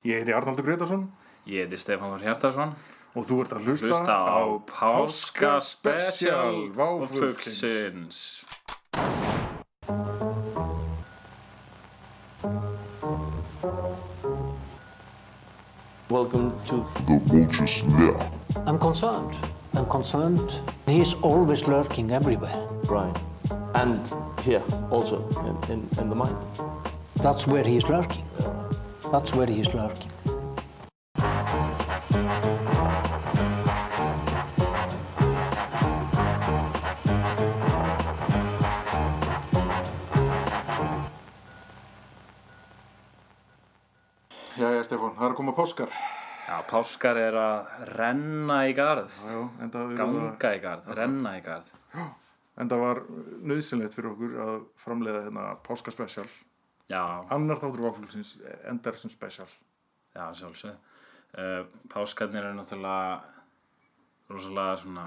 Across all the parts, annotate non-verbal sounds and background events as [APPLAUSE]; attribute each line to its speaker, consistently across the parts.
Speaker 1: Ég heiti Arnaldur Gretarsson
Speaker 2: Ég heiti Stefán Þór Hjartarsson
Speaker 1: og þú ert að hlusta,
Speaker 2: Hlusta á Páska
Speaker 1: Special
Speaker 2: Special
Speaker 1: Váfuglsins.
Speaker 2: Váfuglsins
Speaker 3: Welcome to
Speaker 4: I'm concerned. I'm concerned. He's always lurking everywhere.
Speaker 3: Brian. And here also, in, in, in the mind.
Speaker 4: That's where he's lurking. That's where he's lurking.
Speaker 1: Jæja, Stefán, það er að koma páskar.
Speaker 2: Já, páskar er að renna í garð
Speaker 1: Já, já, enda, við vorum að-
Speaker 2: Ganga í garð, renna í garð
Speaker 1: enda var nöðsynlegt fyrir okkur að framleiða hérna Páska Special.
Speaker 2: Já,
Speaker 1: Annar þáttur Váfuglsins endar sem special.
Speaker 2: já, sjálfsög uh, Páskarnir eru náttúrulega rosalega svona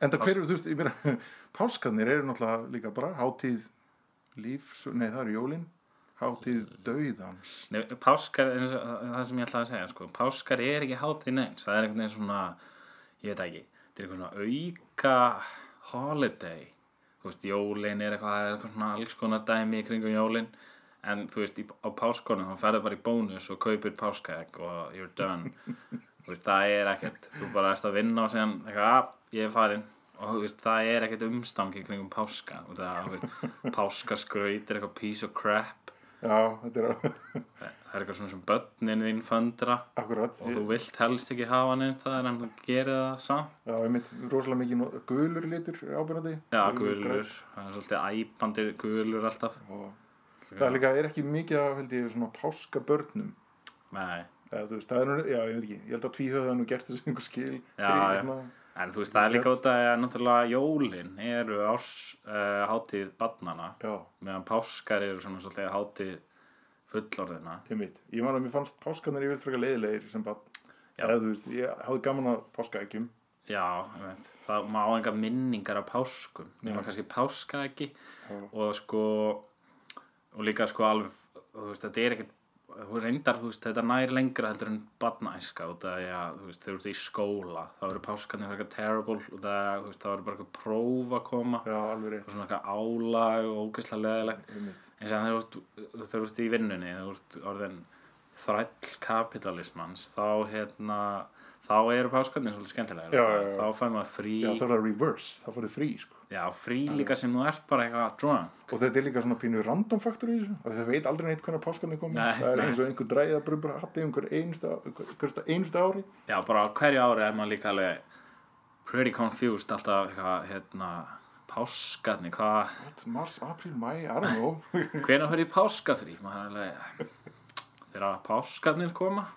Speaker 1: Enda hverju, þú veist, ég meira, [LAUGHS] páskarnir eru náttúrulega líka bara hátíð lífs, nei það eru jólin, hátíð dauðans.
Speaker 2: Nei, Páskar, eins og það sem ég ætlaði að segja sko, Páskar er ekki hátíð neins Það er einhvern veginn svona, ég veit það ekki Þetta er eitthvað svona auka holiday Þú veist, jólin er eitthvað, það er eitthvað svona alls konar dæmi í kringum jólin En þú veist, í, á páskonum þá ferðu bara í bónus og kaupir páskaegg og you're done Þú veist, það er ekkert Þú bara ert að vinna og segja, eitthvað, að, ég er farinn Og þú veist, það er ekkert umstangi kringum páska Og það er páskaskraut er eitthvað piece of crap
Speaker 1: Já, þetta er [LAUGHS]
Speaker 2: það er eitthvað svona sem börnin þín föndra
Speaker 1: akkurat.
Speaker 2: og þú vilt helst ekki hafa hann það er hann að gera það samt
Speaker 1: Já, ég mitt rosalega mikið no- gulur litur er ábyrgandi.
Speaker 2: já, gulur, það er svolítið æpandi gulur alltaf
Speaker 1: Það er líka, er ekki mikið af, held ég, svona páskabörnum.
Speaker 2: Nei.
Speaker 1: Eða, þú veist, það er nú, já, ég veit ekki, ég held að tvíhöðan og gert þessu einhver skil.
Speaker 2: Já,
Speaker 1: Fyrir,
Speaker 2: já.
Speaker 1: hérna,
Speaker 2: en þú veist, það er líka út að náttúrulega jólin eru árs uh, hátíð barnana
Speaker 1: já,
Speaker 2: meðan páskar eru svona svolítið hátíð fullorðina
Speaker 1: ég mitt. Ég man að mér fannst páskanir ég vilt frekar leiðilegir sem bara,
Speaker 2: Já.
Speaker 1: eða þú veist, ég hafði gaman að páskaækjum.
Speaker 2: Já, ég veit, það má enga minningar af páskum, nema kannski páska ekki og sko og líka sko alveg þú veist, þetta er ekkert, þú reyndar þú veist, þetta nær lengra heldur en badnæska og það er að, þú veist, þeir eru í skóla þá eru páskanir eitthvað terrible og það, þú veist, það eru bara eitthvað próf að koma
Speaker 1: Já, alveg rétt,
Speaker 2: og svona eitthvað álag og ógeðslega leðilegt
Speaker 1: ég mitt.
Speaker 2: eins og þegar þú ert í vinnunni þegar þú ert orðin þræll kapitalismans þá hérna þá eru páskarnir svolítið skemmtilega
Speaker 1: Já, já, já.
Speaker 2: þá fær maður frí
Speaker 1: Já, það er að reverse, það fórið frí, sko.
Speaker 2: já, frí líka sem þú ert bara eitthvað drunk
Speaker 1: Og þetta er líka svona pínu random faktor í þessu af því Það veit aldrei neitt hvernig páskarnir koma
Speaker 2: Nei,
Speaker 1: Það er
Speaker 2: nei.
Speaker 1: eins og einhver dræða brubur hatti um hver einsta, hver, hversta einsta ári
Speaker 2: já, bara á hverju ári er maður líka alveg pretty confused alltaf eitthvað hérna páskarnir, hvað
Speaker 1: What? Mars, april, mæ, I don't know [LAUGHS]
Speaker 2: hvenær fyrir páskafrí maður er alveg þegar páskarnir koma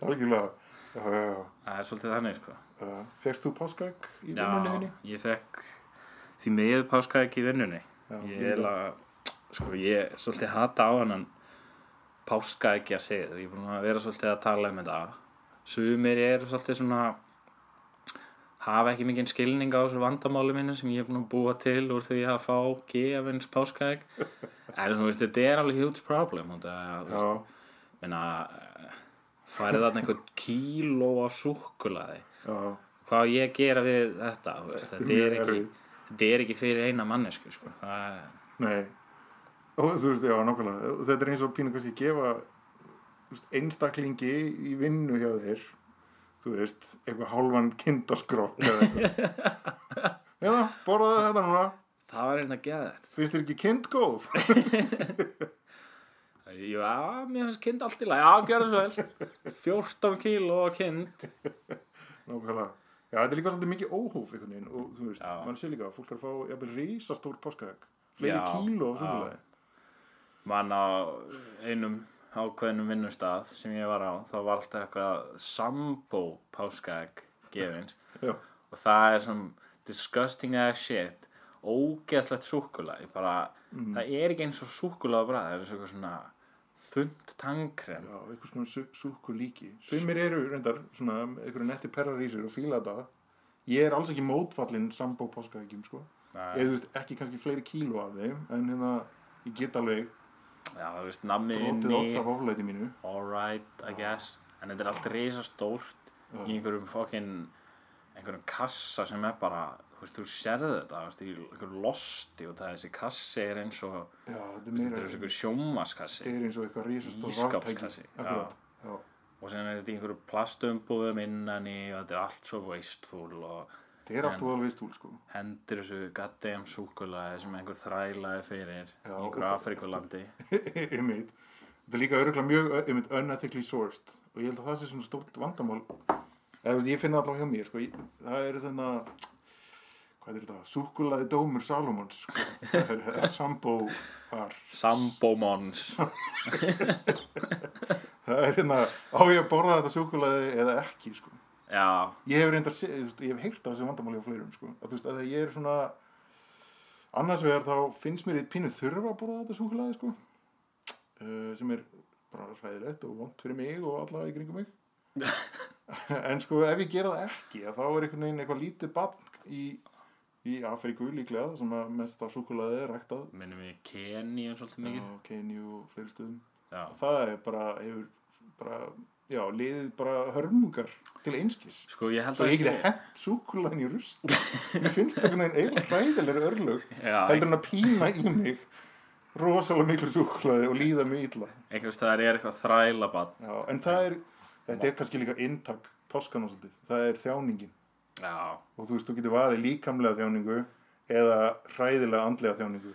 Speaker 1: Algjörlega Já, já, já
Speaker 2: það er svolítið þannig sko
Speaker 1: Uh, Fegst þú páskaegg í
Speaker 2: Já,
Speaker 1: vinnunni þinni?
Speaker 2: ég fekk því miður páska ekki í vinnunni ég
Speaker 1: ég
Speaker 2: er að sko ég svolítið hata á hann páska ekki að segja ég er búin að vera svolítið að tala um þetta sumir eru svolítið svona hafa ekki mikinn skilning á þessu vandamáli mínu sem ég er búin að búa til úr því að fá gefins páska ekki en þú veist þetta er alveg huge problem og það, þú veist,
Speaker 1: Já,
Speaker 2: minna farið þarna einhvern kíló af súkkulaði
Speaker 1: já,
Speaker 2: hvað á ég að gera við þetta þú veist, þetta
Speaker 1: mjög
Speaker 2: er ekki
Speaker 1: erfitt.
Speaker 2: þetta er ekki fyrir eina mannesku sko. það er
Speaker 1: nei og þú veist, já, nákvæmlega Og þetta er eins og pínu kannski að gefa þú veist, einstaklingi í vinnu hjá þér þú veist, eitthvað hálfan kindaskrokk eða eitthvað
Speaker 2: [LAUGHS]
Speaker 1: eða, borðaðu þetta núna
Speaker 2: það var einnig að geða þetta
Speaker 1: finnst þér ekki kind góð? [LAUGHS]
Speaker 2: já, mér finnst kind allt í lagi já, gjör það svo vel 14 kíló af kind
Speaker 1: nákvæmlega já, þetta er líka svolítið mikið óhóf einhvern veginn og þú veist,
Speaker 2: Já.
Speaker 1: mann sé líka að fólk þarf að fá jafnvel risastór páskaegg fleiri
Speaker 2: Já,
Speaker 1: kíló af
Speaker 2: já.
Speaker 1: súkkulaði
Speaker 2: mann á einum ákveðnum vinnustaf sem ég var á þá var alltaf eitthvað sambó páskaegg gefins
Speaker 1: já,
Speaker 2: og það er sem disgusting as shit ógeðslegt súkkulaði bara, það er ekki eins og súkkulaði bara, það er eins og eitthvað svona þund tangkrem
Speaker 1: já, eitthvað svona sú, súkulíki sumir eru reyndar, svona einhverju netti perrar í sér og fíla þetta ég er alls ekki mótfallinn sambó páskaeggjum sko,
Speaker 2: Nei.
Speaker 1: ég þú veist, ekki kannski fleiri kíló af þeim, en hérna ég get alveg
Speaker 2: já, þú veist, nammi
Speaker 1: Rótið
Speaker 2: inni
Speaker 1: ótt af oflæti mínu
Speaker 2: alright, I guess en þetta er allt risastórt í einhverjum fokkin einhverjum kassa sem er bara þú veist, þú sérði þetta, þú veist, í einhverjum losti og það er þessi kassi er eins og
Speaker 1: Já, þetta er
Speaker 2: þetta
Speaker 1: meira
Speaker 2: er eins og einhver sjómaskassi
Speaker 1: Þetta er eins og eitthvað rísastór
Speaker 2: Ísskápskassi,
Speaker 1: ráftæki
Speaker 2: já.
Speaker 1: Akkurat, já
Speaker 2: og sem er þetta í einhverju plastumbúðum innan í og þetta er allt svo wasteful og
Speaker 1: Þetta er alltaf alveg stúl sko
Speaker 2: hendur þessu goddamn súkulaði sem einhver þrælaði fyrir í
Speaker 1: Já,
Speaker 2: einhverju
Speaker 1: og það-
Speaker 2: Afrikulandi
Speaker 1: [LAUGHS] einmitt þetta er líka örgulega mjög einmitt, unethically sourced og ég held að það sé svona stórt vandamál eða þú veist, ég finna það allavega hjá mér sko. ég, það eru þarna hvað er þetta, súkulaði dómur Salomons sko. það er- það er sambó þar
Speaker 2: Sambomons
Speaker 1: [LAUGHS] það er hérna, á ég að borða þetta súkulaði eða ekki sko.
Speaker 2: já,
Speaker 1: ég hef reynda, ég hef heyrt af þessi vandamáli á fleirum sko. að þú veist, að þegar ég er svona annars vegar þá finnst mér eitt pínu þurfa að borða þetta súkulaði sko. uh, sem er bara hræðilegt og vont fyrir mig og alla í kringum mig en sko ef ég gera það ekki að þá er einhvern veginn eitthvað lítið barn í, í Afríku líklega sem að mest af súkulaði er ræktað
Speaker 2: minnum við Kenny svolítið mikið
Speaker 1: á Kenju og fleiri stöðum
Speaker 2: já.
Speaker 1: og það er bara, hefur bara, já, liðið bara hörmungar til einskis
Speaker 2: Sko ég held
Speaker 1: Svo
Speaker 2: að
Speaker 1: ég geti hent súkulæðin í rusl Mér finnst það einhvern veginn eiginlega hræðilegri örlög
Speaker 2: Já,
Speaker 1: Heldur hann að pína í mig Rosalega miklu súkulæði og líða mjög illa
Speaker 2: einhvers staðar er eitthvað þrælabann
Speaker 1: Já, En það er, þetta er kannski líka inntak páskan og svolítið Það er þjáningin
Speaker 2: Já,
Speaker 1: Og þú veist, þú getur valið líkamlega þjáningu Eða hræðilega andlega þjáningu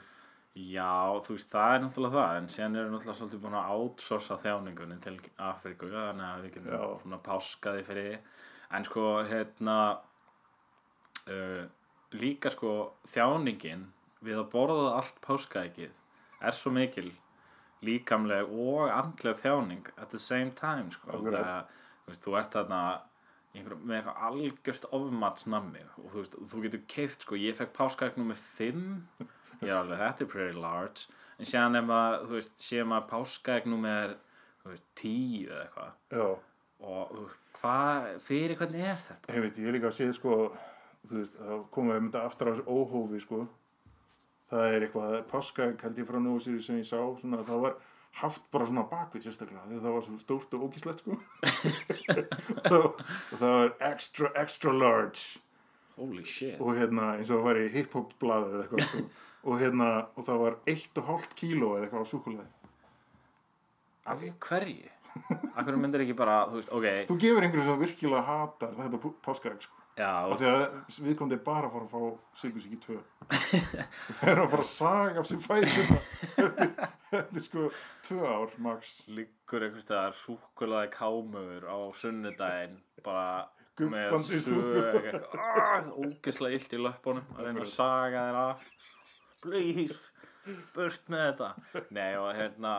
Speaker 2: já, þú veist, það er náttúrulega það en síðan erum við náttúrulega svolítið búin að outsourca þjáningunni til Afriku þannig að við getum
Speaker 1: Já.
Speaker 2: svona páskaði fyrir því en sko, hérna uh, líka sko þjáningin við að borða allt páskaðikið er svo mikil líkamleg og andleg þjáning at the same time sko,
Speaker 1: Akkurat.
Speaker 2: Þegar, þú, veist, þú ert þarna í einhverju- með eitthvað algjörst ofmatsnammi og þú, veist, þú getur keift sko, ég fekk páskaegnum með 5 ég er alveg þetta er pretty large en séðan ef að, þú veist, séðan að páskaegnum með þú veist, 10 eða eitthvað
Speaker 1: Já,
Speaker 2: og þú veist, hvað, fyrir hvernig er þetta?
Speaker 1: ég veit, ég er líka að séð sko Þú veist, þá komum við mynda aftur á þessu óhófi sko það er eitthvað, páska held ég frá nú sér sem ég sá, svona, það var haft bara svona bakvið sérstaklega þegar það var svo stórt og ógíslegt sko [LAUGHS] og, og það var extra, extra large
Speaker 2: Holy shit
Speaker 1: og hérna eins og það var í hip-hop blaði eða eitthvað sko og hérna, og það var eitt og hálft kíló eða eitthvað á súkulæði
Speaker 2: af hverju? Akkur myndir ekki bara, þú veist, ok
Speaker 1: þú gefur einhverju sem virkilega hatar þetta páska sko
Speaker 2: já,
Speaker 1: af því að viðkomandi er bara að fara að fá sykursíki 2 það er að fara að saga af sér fætur eftir, eftir sko 2 ár max
Speaker 2: liggur einhvers staðar súkulaði kámur á sunnudaginn bara með
Speaker 1: Gubbandi súkkulaði.
Speaker 2: sög ógislega illt í löppunum að reyna að saga þér af please, burt með þetta nei og hérna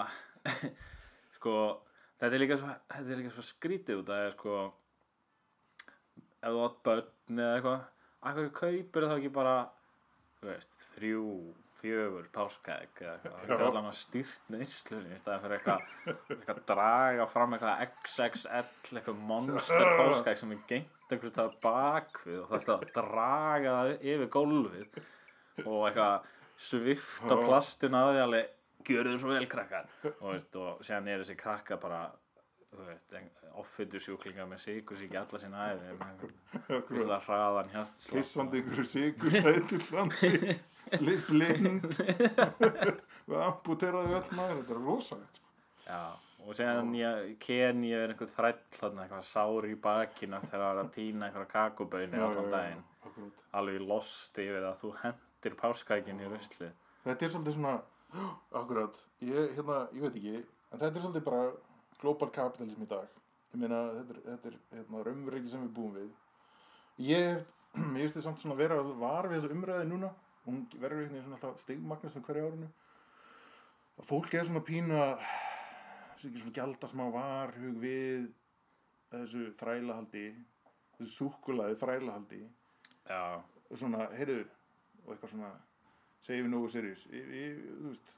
Speaker 2: [LAUGHS] sko, þetta er líka svo, þetta er líka svo skrítið út að sko ef þú átt börn eða eitthvað akkur kaupir þá ekki bara þú veist, þrjú, fjögur páskaegg eða eitthvað, það er allan að stýrt neyslunni í staðið fyrir eitthvað eitthvað draga fram eitthvað XXL eitthvað monster páskaegg sem er gengt einhvers staðar bakvið og það er alltaf að draga það yfir gólfið og eitthvað svifta plastun að því alveg gjörðu svo vel krakkar og, veist, og séðan er þessi krakka bara þú veist, offitu sjúklinga með sigur sér ekki alla sína æfi með
Speaker 1: Akkurat.
Speaker 2: vilja hraðan hjartslátt
Speaker 1: pissandi ykkur sigur sætur landi li- blind við amputeraði öll maður þetta er rosalegt sko.
Speaker 2: Já, og séðan ég, Kenya er einhver þræll þarna, eitthvað sár í bakina þegar það var að týna einhverja kakuböinu allan daginn.
Speaker 1: Akkurat.
Speaker 2: Alveg lost yfir að þú hendir páskækin í rusli.
Speaker 1: þetta er svolítið svona akkurat, ég, hérna, ég veit ekki en þetta er svolítið bara global capitalism í dag ég meina þetta er, þetta er hérna, raunveruleiki sem við búum við ég hef, [CLEARS THROAT] ég veist þið samt svona vera var við þessu umræði núna og hún verður einhvern veginn svona alltaf stigmagnast með hverju árinu að fólk er svona pína sem ekki svona gjalda smá varhug við þessu þrælahaldi þessu súkulaði þrælahaldi
Speaker 2: Já,
Speaker 1: og svona, heyrðu og eitthvað svona, segjum við nógu seriðis ég, ég, þú veist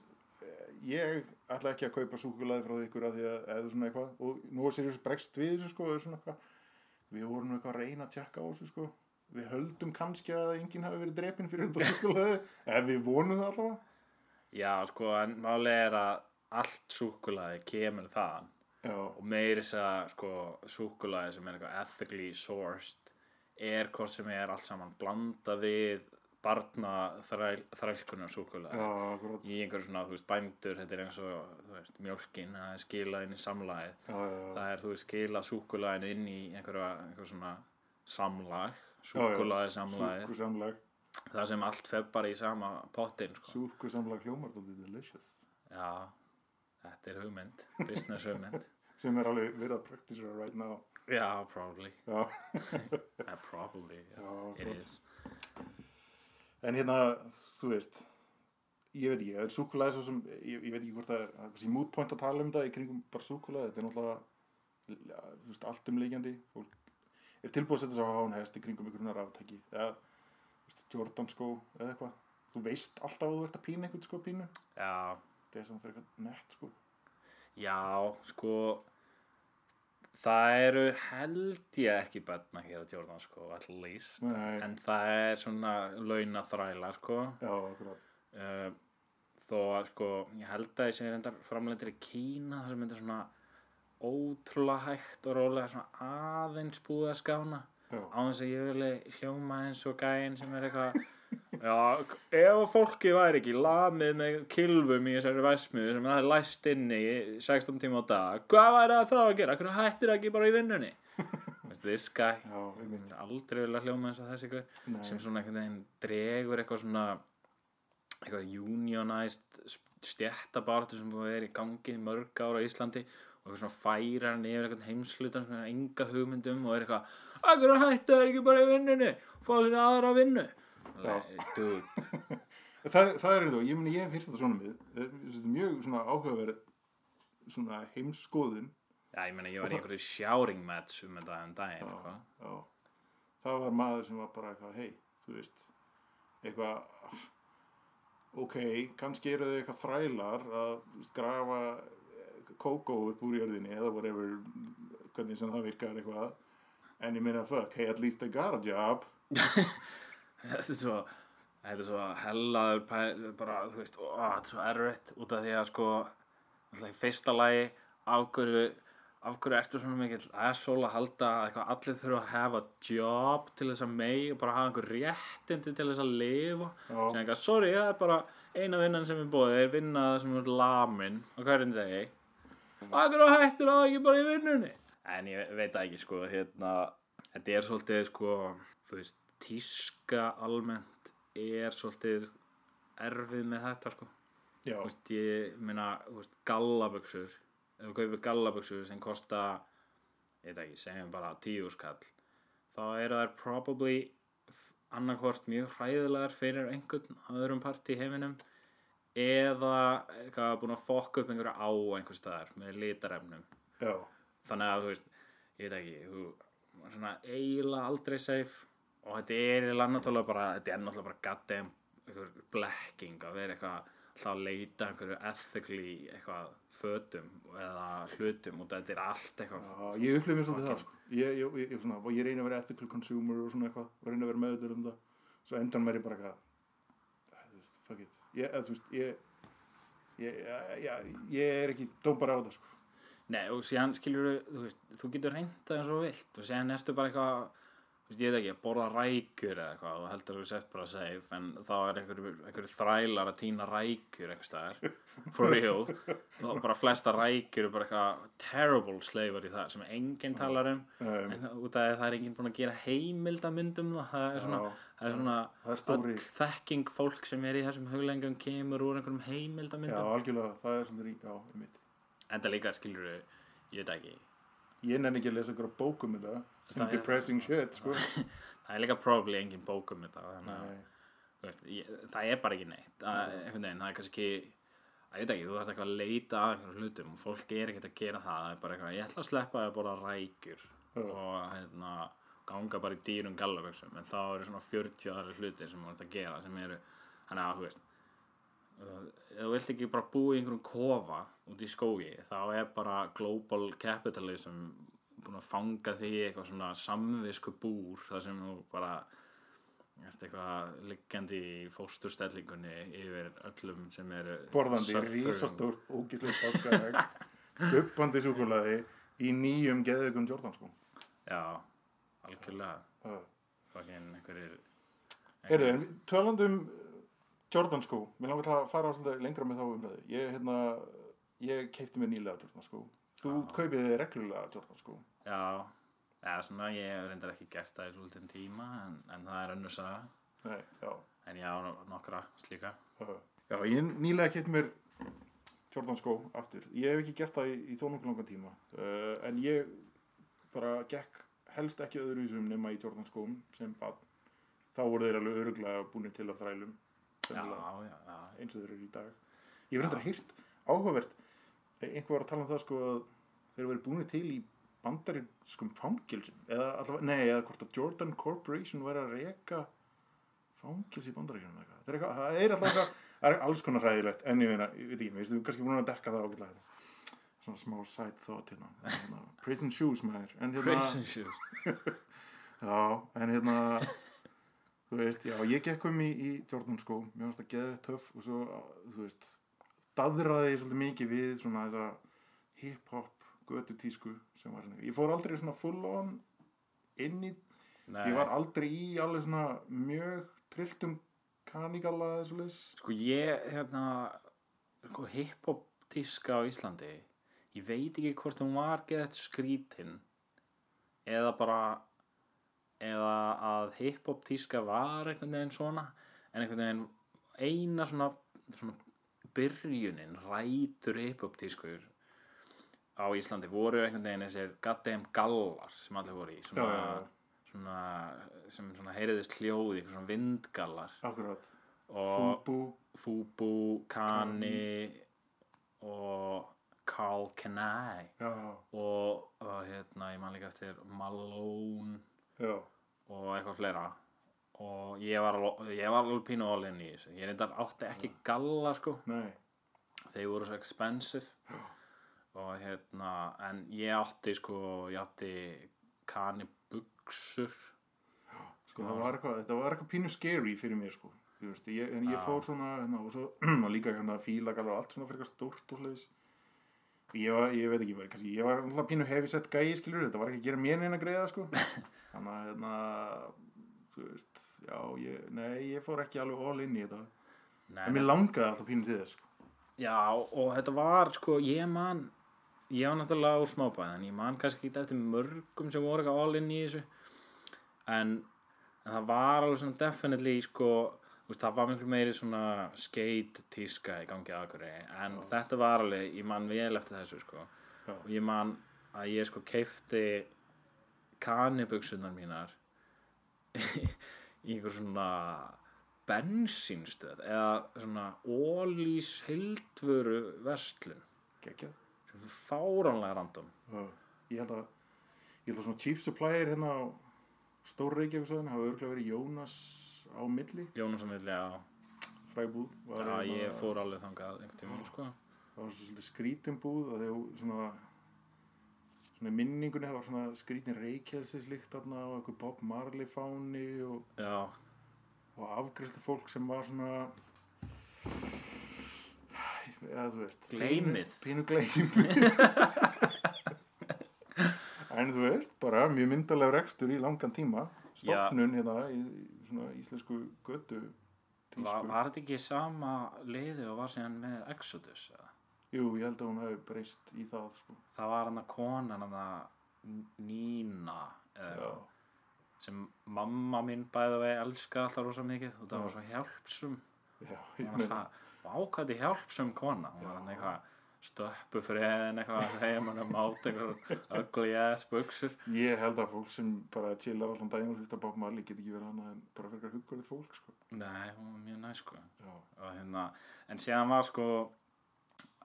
Speaker 1: eh, ég ætla ekki að kaupa súkulaði frá ykkur að því að, eða svona eitthvað og nógu seriðis bregst við þessu sko eða svona eitthvað, við vorum nú eitthvað að reyna að tjekka á þessu sko, við höldum kannski að enginn hafi verið drepinn fyrir þetta súkulaði ef við vonum það allavega
Speaker 2: já sko, en máli er að allt súkulaði kemur þaðan
Speaker 1: já,
Speaker 2: og meiri þess að sko, súkulaði sem er eitthvað ethically sourced er hvort sem er allt saman blanda við barna þræl, þrælkunar súkulaði
Speaker 1: já, akkurat já,
Speaker 2: í einhverju svona, þú veist, bændur þetta er eins og, þú veist, mjólkin það er skilað inn í samlagið
Speaker 1: já, já,
Speaker 2: það er, þú veist, skilað súkulaðinu inn í einhverja, einhverju svona samlag
Speaker 1: já.
Speaker 2: súkulaði samlagið
Speaker 1: súkusamlag
Speaker 2: það sem allt fer bara í sama pottin sko.
Speaker 1: súkusamlag hljómar dálítið delicious
Speaker 2: já, þetta er hugmynd business hugmynd [LAUGHS]
Speaker 1: sem er alveg verið að praktisera right now
Speaker 2: já, probably,
Speaker 1: já,
Speaker 2: Eh, probably
Speaker 1: já,
Speaker 2: yeah. it
Speaker 1: akkurat
Speaker 2: is
Speaker 1: En hérna, þú veist ég veit ekki, það er súkulega svo sem ég, ég veit ekki hvort það er, það er kannski mútpoint að tala um þetta í kringum bara súkulega, þetta er náttúrulega ja, þú veist, allt umleikjandi fólk er tilbúið að setja svo hán hest í kringum ykkur ráftæki, eða þú veist, Jordan skó, eða eitthvað þú veist alltaf að þú ert að pína einhvern sko pínu
Speaker 2: já,
Speaker 1: þetta er samt fyrir eitthvað nett sko
Speaker 2: já, sko það eru held ég ekki betna hér á Jordan, sko, at least
Speaker 1: Nei,
Speaker 2: en það er svona launaþræla, sko
Speaker 1: já, akkurat
Speaker 2: uh, þó að sko ég held að ég segi reyndar framlendir í Kína þar sem þetta er svona ótrúlega hægt og rólega svona aðeins búið að skána
Speaker 1: Já.
Speaker 2: á þess að ég vilja hljóma eins og gæinn sem er eitthvað Já, ef fólki væri ekki lamið með kilvum í þessari væsmiðu sem það er læst inni í 16 tíma á dag, hvað væri það þá að gera? Hvernig hættir það ekki bara í vinnunni? Veistu, This guy
Speaker 1: Já, einmitt,
Speaker 2: aldrei vilja hljóma eins og þessi ykkur
Speaker 1: Nei.
Speaker 2: sem svona einhvern veginn dregur eitthvað svona eitthvað unionized stjættabartu sem búið að vera í gangi í mörg ára á Íslandi og eitthvað svona færar hann yfir eitthvað heimslutan sem er enga hugmyndum og er eitthvað Akkur hættu það ekki bara í vinnunni fá sér aðra vinnu Alveg, Dude,
Speaker 1: það, það er þetta, ég meni ég hef hýrt þetta svona mið Eh, þetta er mjög svona áhugaverð svona heimskoðun
Speaker 2: já ég meina ég var í einhverju sjáring match um þetta um daginn eitthvað.
Speaker 1: Já, það var maður sem var bara eitthvað, hei, þú veist, eitthvað, ok, kannski eru þau eitthvað þrælar að þú veist, grafa eh, kókó upp úr jörðinni eða whatever, hvernig sem það virkar eitthvað, en ég meina, fuck, hey, at least they got a job,
Speaker 2: þetta er svo þetta er svo hellaður pæ- bara, þú veist, ó, þetta er svo erfitt út af því að sko alltaf í fyrsta lagi af hverju af hverju ertu svona mikill asshole að halda að eitthvað allir þurfa að hafa job til þess að megi og bara hafa einhver réttindi til þess að lifa
Speaker 1: Já.
Speaker 2: sem eitthvað, sorry, það er bara eina vinnan sem er bóðið, er vinna það sem er lamin og hverjum degi Akkur og hættur það ekki bara í vinnunni En ég veit það ekki sko hérna, Þetta er svolítið sko Þú veist, tíska almennt Er svolítið Erfið með þetta sko
Speaker 1: já,
Speaker 2: Þú veist, ég meina þú veist, Gallaböksur Ef við kaupir gallaböksur sem kosta Ég veit ekki, segjum bara tíu skall Þá eru þær probably Annarkvort mjög hræðilegar Fyrir einhvern öðrum part í heiminum eða eitthvað búin að fokka upp einhverja á einhver staðar með litarefnum
Speaker 1: já,
Speaker 2: þannig að þú veist, ég veit ekki þú, maður er svona eiginlega aldrei safe og þetta er eiginlega náttúrulega bara þetta er náttúrulega bara goddamn einhver blekking að vera eitthvað alltaf að leita að einhverju ethically eitthvað fötum eða hlutum og þetta er allt eitthvað
Speaker 1: já, ég upplifði mér svolítið það, sko, ég, ég, ég, ég, svona, og ég reyna að vera ethical consumer og svona eitthvað, og reyna að vera meðutur um það, svo endan mér ég bara eitthvað, "Æ, þú veist, fuck it, ég, eða, þú veist, ég, Ég, ég, ég, ég er ekki dómbar á þetta sko
Speaker 2: Nei, og síðan skilur þú veist, þú getur reynda eins og þú vilt og síðan ertu bara eitthvað þú veist, ég veit ekki, að borða rækjur eða eitthvað og heldur þú sett bara safe en þá er einhverju einhver þrælar að týna rækjur eitthvað staðar for real og bara flesta rækjur eru bara eitthvað terrible slaver í það sem enginn talar um
Speaker 1: Nei.
Speaker 2: en það- út af því að það er enginn búin að gera heimildamyndum það er svona,
Speaker 1: Já.
Speaker 2: það er svona
Speaker 1: Það er stóri-
Speaker 2: öll þekking fólk sem er í þessum huglengum kemur úr einhverjum
Speaker 1: Já,
Speaker 2: heimildamyndum
Speaker 1: algjörlega, það er svolítið rík, já, ég mitt.
Speaker 2: en það líka skilur ég veit ekki
Speaker 1: Ég nenni ekki að lesa einhverja bókum um þetta, sem
Speaker 2: Það er- Ah,
Speaker 1: depressing shit, sko.
Speaker 2: [LAUGHS] Það er líka probably engin bók um þetta þannig að,
Speaker 1: Nei,
Speaker 2: þú veist, ég, það er bara ekki neitt að, einhvern veginn, það er kannski að ég veit ekki, þú þarft eitthvað að leita að einhverjum hlutum og fólk er ekkert að gera það það er bara eitthvað, ég ætla að sleppa að borða rækjur og hérna ganga bara í dýrum gallaföksum en þá eru svona 40 aðra hlutir sem þú ert að gera sem eru, þannig að, þú veist ef þú vilt ekki bara búa í einhverjum kofa út í skógi þá er bara global capitalism búin að fanga því eitthvað svona samvisku búr þar sem þú bara Ertu eitthvað liggjandi í fósturstellingunni yfir öllum sem eru
Speaker 1: borðandi
Speaker 2: suffering.
Speaker 1: risastórt ógíslega
Speaker 2: [LAUGHS]
Speaker 1: páskaegg guppandi súkulaði í nýjum geðugum Jordan sko
Speaker 2: Já, algjörlega
Speaker 1: Það-
Speaker 2: Fucking einhverjir
Speaker 1: Heyrðu, en tölandi um eh, Jordan sko, mér langar til að fara á svolítið lengra með þá umræðu. Ég, hérna, ég keipti mér nýlega Jordan sko. Þú kaupið þið reglulega Jordan sko.
Speaker 2: Já, eða svona ég hef reyndar ekki gert það í svolítinn tíma en, en það er önnur saga
Speaker 1: Nei, já.
Speaker 2: en ég á no- nokkra slíka
Speaker 1: Uh, já, ég nýlega keipti mér Jordan sko aftur. Ég hef ekki gert það í, í þó nokkuð langan tíma. Uh, en ég bara gekk helst ekki öðru í sum nema í Jordan skóm sem bara, þá voru þeir alveg öruglega búinir til að þrælum.
Speaker 2: Já,
Speaker 1: sennilega.
Speaker 2: já, já,
Speaker 1: eins og þeir eru í dag ég hef reyndar heyrt áhugavert einhver var að tala um það sko að þeir eru verið búinu til í bandarinskum fangilsum eða allavega, nei, eða hvort að Jordan Corporation væri að reka fangils í bandaríkjunum eitthvað. Það er eitthvað, það er alltaf eitthvað, það er alls konar ræðilegt en ég meina, ég veit ekki, mér finnst þú kannski búin að dekka það ágætlega hérna. svona smá side thought hérna, hérna prison shoes maður en hérna,
Speaker 2: [LAUGHS] Prison shoes
Speaker 1: Já, en hérna þú veist, já, ég gekk um í, í Jordan sko, mér fannst að geða töff og svo, að, þú veist daðraði ég svolítið mikið við svona þessa hip-hop, götu tísku sem var hérna, ég fór aldrei svona full on inn í,
Speaker 2: Nei,
Speaker 1: ég var aldrei í alveg svona mjög trilltum kanigala eða svo leys
Speaker 2: sko ég, hérna sko, hiphop tíska á Íslandi ég veit ekki hvort hún var geðið skrítin eða bara eða að hiphop tíska var einhvern veginn svona en einhvern veginn eina svona, svona byrjunin rætur hiphop tískur á Íslandi voru einhvern veginn þessir goddamn gallar sem allir voru í svona,
Speaker 1: Já, já, já.
Speaker 2: svona sem svona heyriðist hljóði svona vindgallar
Speaker 1: akkurat,
Speaker 2: og
Speaker 1: fúbú
Speaker 2: Fubu, Kani og Carl Kenai
Speaker 1: já,
Speaker 2: og uh, hérna, ég man líka eftir Malone
Speaker 1: já,
Speaker 2: og eitthvað fleira og ég var, alveg- ég var alveg pínu all in í þessu ég reyndar átti ekki galla sko
Speaker 1: nei
Speaker 2: þeir voru svo expensive og hérna en ég átti sko ég átti Kani buksur
Speaker 1: sko það var eitthvað, þetta var eitthvað pínu scary fyrir mér sko Þú veist, ég, en ég fór svona hérna, og svo [CLEARS THROAT] og líka hérna fílagallar og allt svona fyrir eitthvað stórt og sliðis ég, var, ég veit ekki, bara, kannski, ég var alltaf pínu hefisett gæi skilur, þetta var ekki að gera mér neina greiða
Speaker 2: [LAUGHS]
Speaker 1: sko þannig að hérna þú veist, já, ég, nei ég fór ekki alveg all in í þetta
Speaker 2: Nei,
Speaker 1: en mér langaði alltaf pínu til þess sko
Speaker 2: Já, og þetta var sko, ég man ég var náttúrulega úr smábæðin en ég man kannski ekki eftir mörgum sem voru eitthvað all in í þessu en, en það var alveg svona definitely sko, þú veist, það var miklu meiri svona skate tíska í gangi aðkværi en þetta var alveg, ég man vel eftir þessu sko
Speaker 1: Já.
Speaker 2: og ég man að ég sko keifti kanibuksunar mínar í einhver svona bensínstöð eða svona ólís heldvöru verslun
Speaker 1: geggjað
Speaker 2: fáránlega random
Speaker 1: Já, ég held að ég held að svona chief supplier hérna á Stór Reykjavíksvæðinu hafa örgulega verið Jónas á milli,
Speaker 2: Jónassamilja á
Speaker 1: fræbúð var
Speaker 2: Já,
Speaker 1: hérna-
Speaker 2: ég fór alveg þangað einhvern tímann sko.
Speaker 1: það var svo svolítið skrítin búð að þegar svona, svona í minningunni það var svona skrítin reykjelsis líkt þarna og eitthvað Bob Marley fáni og,
Speaker 2: Já,
Speaker 1: og afgriðslu fólk sem var svona eða þú veist
Speaker 2: Gleymið.
Speaker 1: pínu, pínu gleymið [LAUGHS] en þú veist bara mjög myndalega rekstur í langan tíma
Speaker 2: Já.
Speaker 1: stopnun hérna í, í svona íslensku götu tísku
Speaker 2: var, var þetta ekki sama liði og var síðan með Exodus eða?
Speaker 1: jú ég held að hún hafi breyst í það sko
Speaker 2: það var hann að konan hann að Nína eða,
Speaker 1: Já.
Speaker 2: sem mamma mín bæði vegi elska alltaf rosa mikið og það var svo hjálpsum
Speaker 1: Já, ég
Speaker 2: Hún var
Speaker 1: meina,
Speaker 2: alltaf, vá hvað þið hjálpsum kona hún var hann eitthvað stöppu friðin eitthvað að segja mann að máta einhver ugly ass buksur
Speaker 1: ég held að fólk sem bara chillar allan daginn og hlusta á Bob Marley get ekki verið annað en bara fyrir huggulegt fólk sko.
Speaker 2: nei, hún var mjög næ sko
Speaker 1: Já,
Speaker 2: og hérna, en síðan var sko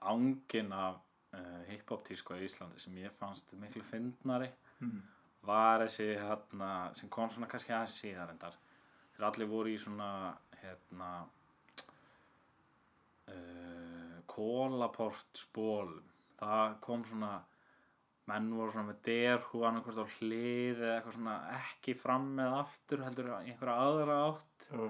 Speaker 2: ángin af uh, hip-hop tísku á Íslandi sem ég fannst miklu fyndnari var þessi hérna sem kom svona kannski aðeins síðar endar þegar allir voru í svona hérna eh, uh, kólaportsbólum það kom svona menn voru svona með derhú annarkvort á hlið eða eitthvað svona ekki fram með aftur heldur í einhverja aðra átt
Speaker 1: já,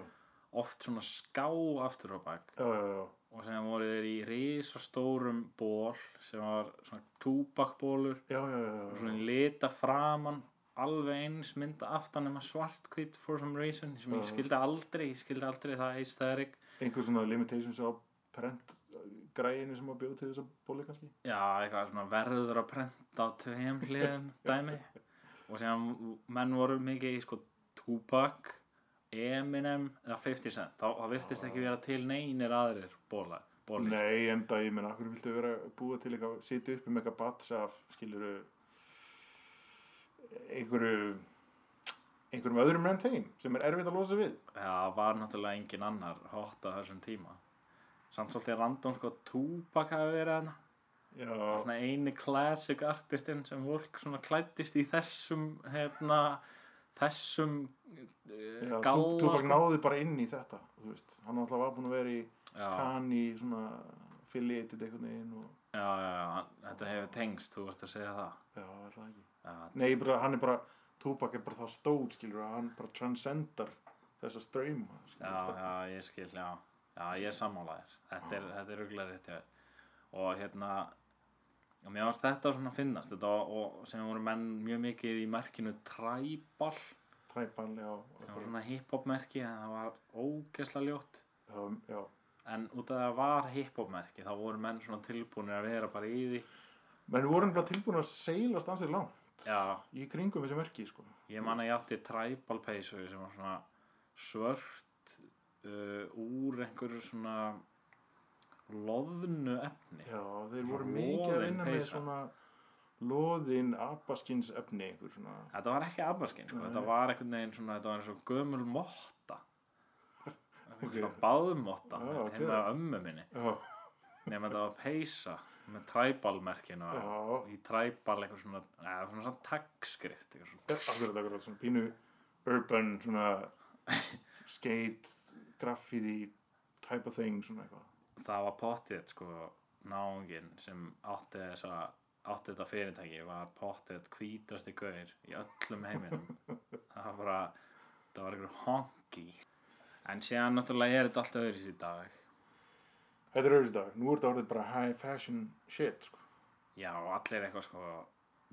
Speaker 2: oft svona ská aftur á bak
Speaker 1: já, já, já.
Speaker 2: og sem voru þeir í risastórum ból sem var svona túbakbólur
Speaker 1: Já, já, já,
Speaker 2: og
Speaker 1: já,
Speaker 2: svona lita framan alveg eins mynda aftan nema svartkvít for some reason sem ég skildi aldrei, ég skildi aldrei það eistæðarik
Speaker 1: einhver svona limitations á prent uh, græinu sem að bjóða til þess að bóli kannski
Speaker 2: Já, eitthvað svona verður að prenta á tveim hliðum dæmi og sem menn voru mikið í sko Tupac, Eminem eða 50 Cent, þá, þá virtist ekki vera til neinir aðrir bóla, bóli
Speaker 1: Nei, enda, ég menn, akkur viltu vera búa til eitthvað, sitja upp um eitthvað bats af, skiluru, einhverju, einhverjum öðrum enn þeim sem er erfitt að losa við.
Speaker 2: Já, var náttúrulega engin annar hot á þessum tíma samt svolítið random sko Tupac hafi verið hana
Speaker 1: Já,
Speaker 2: svona eini classic artistinn sem fólk svona klættist í þessum hérna, þessum
Speaker 1: já
Speaker 2: galla,
Speaker 1: Tú- Tupac
Speaker 2: sko.
Speaker 1: náði bara inn í þetta, þú veist, hann alltaf var búin að vera í
Speaker 2: Já.
Speaker 1: Kani, svona, affiliated einhvern veginn og,
Speaker 2: já, já, já, hann- þetta hefur tengst, þú vart að segja það
Speaker 1: já, alltaf ekki.
Speaker 2: Já,
Speaker 1: Nei, ég bara, hann er bara, Tupac er bara það stóð, skiluru, að hann bara transcendar þessa ströyma,
Speaker 2: já,
Speaker 1: skiluru.
Speaker 2: já, ég skil, já já, ég er sammálaðir, þetta er, þetta er rugglega rétt hjá þér og hérna og mér varst þetta svona að finnast þetta og, og sem voru menn mjög mikið í merkinu træball
Speaker 1: Træpan, já,
Speaker 2: það var svona hiphop merki en það var ógeðslega ljótt
Speaker 1: já, já,
Speaker 2: en út af það var hiphop merki þá voru menn svona tilbúinir að vera bara í því
Speaker 1: menn vorum bara tilbúin að seilast ansið langt.
Speaker 2: já,
Speaker 1: í kringum þessi merki sko.
Speaker 2: Ég man að ég átti tribal peysu sem var svona svört uh, úr einhverju svona loðnu efni.
Speaker 1: já, þeir voru
Speaker 2: Loðin
Speaker 1: mikið að vinna með
Speaker 2: peysa.
Speaker 1: svona loðin apaskins efni einhver svona
Speaker 2: Þetta var ekki abbaskinn, sko. þetta var einhvern veginn svona, þetta var eins og gömul motta. Okay. Svona baðmotta,
Speaker 1: Já, ok.
Speaker 2: hérna okay. ömmu minni.
Speaker 1: já,
Speaker 2: Nefnum þetta var peysa með tribalmerkinu
Speaker 1: Já.
Speaker 2: og í tribal eitthvað svona, eða svona svona taggskrift, eitthvað svona.
Speaker 1: akkurat, akkurat, svona pínu urban, svona skate, graffiti type of thing, svona eitthvað
Speaker 2: það var pottið sko náungin sem átti þessa átti þetta fyrirtæki var pottið hvítasti gaur í öllum heiminum það var bara það var einhver honki en síðan náttúrulega er þetta allt öðris í dag
Speaker 1: þetta er auðvitað, nú er þetta orðið bara high fashion shit, sko
Speaker 2: já og allir eitthvað sko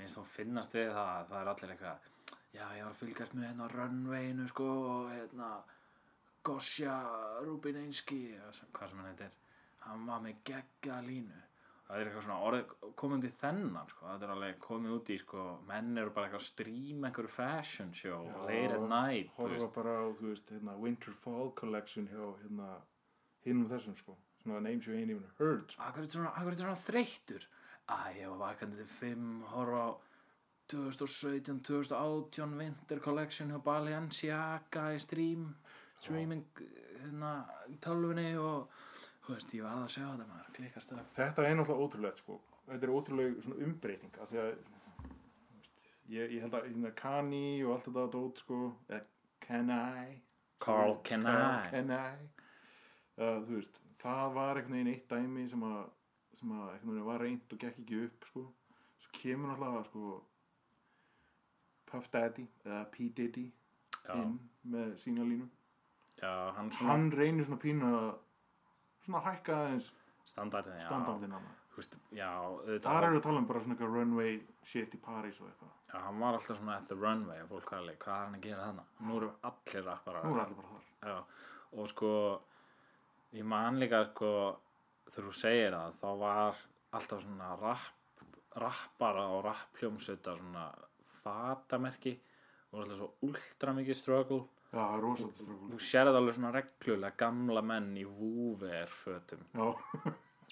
Speaker 2: minnst þú finnast við það það er allir eitthvað já ég var að fylgjast með hérna runwayinu sko og hérna Gosja Rubineinski eða sem- hvað sem hann heitir hann var með gegga línu það er eitthvað svona orðið komandi þennan sko. þetta er alveg komið út í sko, menn eru bara eitthvað að streama einhverju fashion show late at night þú
Speaker 1: horfa
Speaker 2: veist.
Speaker 1: bara á, þú veist, hérna winter fall collection hjá, hérna hinnum þessum, sko, svona names you ain't even heard, sko,
Speaker 2: akkur er þetta svona, akkur er þetta svona þreyttur Æ, ég var vakandi til 5 horfa á 2017, 2018 Winter Collection hjá Balenciaga í stream streaming hérna, tölvunni og þú veist, ég varð að sjá þetta maður klikkast upp
Speaker 1: Þetta er náttúrulega ótrúlegt sko. Þetta er ótrúlega svona umbreyting af því að þú veist, ég, ég held að hérna, Kani og allt þetta dót sko, eða Kanai
Speaker 2: Carl Kanai.
Speaker 1: Kanai uh, þú veist, það var einhvern veginn eitt dæmi sem að, sem að einhvern veginn var reynd og gekk ekki upp sko. svo kemur náttúrulega sko, Puff Daddy eða P. Diddy
Speaker 2: Já.
Speaker 1: inn með sína línu
Speaker 2: Já, hann svona
Speaker 1: hann reynir svona pínu að svona hækka aðeins
Speaker 2: standardin, já.
Speaker 1: standardinn hann
Speaker 2: Þú veist, já, auðvitað,
Speaker 1: Þar eru að tala um bara svona eitthvað runway shit í París og eitthvað.
Speaker 2: já, hann var alltaf svona at the runway og fólk var alveg, hvað er hann að gera þarna? Nú eru allir rapparar.
Speaker 1: Nú er allir bara þar.
Speaker 2: Já, og sko, ég man líka, sko, þegar þú segir það, þá var alltaf svona rapp, rappara og rappljómsveita svona fatamerki og alltaf svo ultra mikið ströggul.
Speaker 1: Já, það er rosalega ströggul.
Speaker 2: Þú sér það alveg svona reglulega gamla menn í vúverfötum
Speaker 1: Já.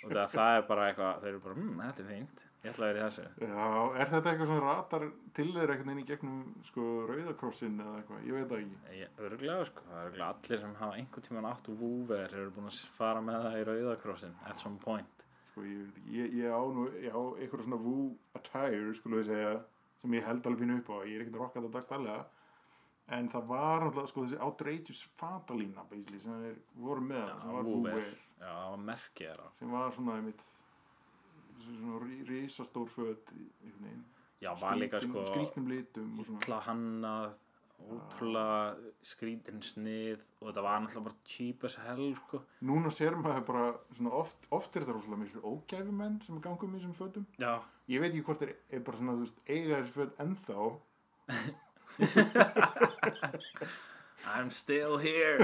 Speaker 2: og það, það er bara eitthvað, þeir eru bara, mmm, þetta er fínt, ég ætla að vera í þessu.
Speaker 1: Já, er þetta eitthvað sem ratar til þeir eitthvað inn í gegnum sko rauðakrossin eða eitthvað? Ég veit það ekki.
Speaker 2: Örglega sko, það er örglega allir sem hafa einhvern tímann átt vúver eru búin að fara með það í rauðakrossin at some point
Speaker 1: Sko, ég veit ekki. Ég, ég á nú, ég á eitthvað svona woo attire, skulum við segja, sem ég held alveg pínu upp á. Ég er ekkert að rokka þetta dagstælega. En það var náttúrulega, sko, þessi outrageous fatalína, basically, sem þeir voru með það, sem var
Speaker 2: Vúver,
Speaker 1: woo-wear.
Speaker 2: já, það var merkið þeirra
Speaker 1: Sem var svona, einmitt, svona rí- risastór föt, einhvern veginn.
Speaker 2: já, var líka sko
Speaker 1: skrýtnum litum og svona
Speaker 2: illa hannað ótrúlega skrítin snið og þetta var náttúrulega bara cheap as hell sko.
Speaker 1: núna sér maður bara svona oft, oft er þetta rosalega miklu ógæfi menn sem ganga um í þessum fötum
Speaker 2: já,
Speaker 1: ég veit ekki hvort er, er bara svona þú veist eiga þessi föt ennþá
Speaker 2: I'm still
Speaker 1: [LAUGHS]
Speaker 2: here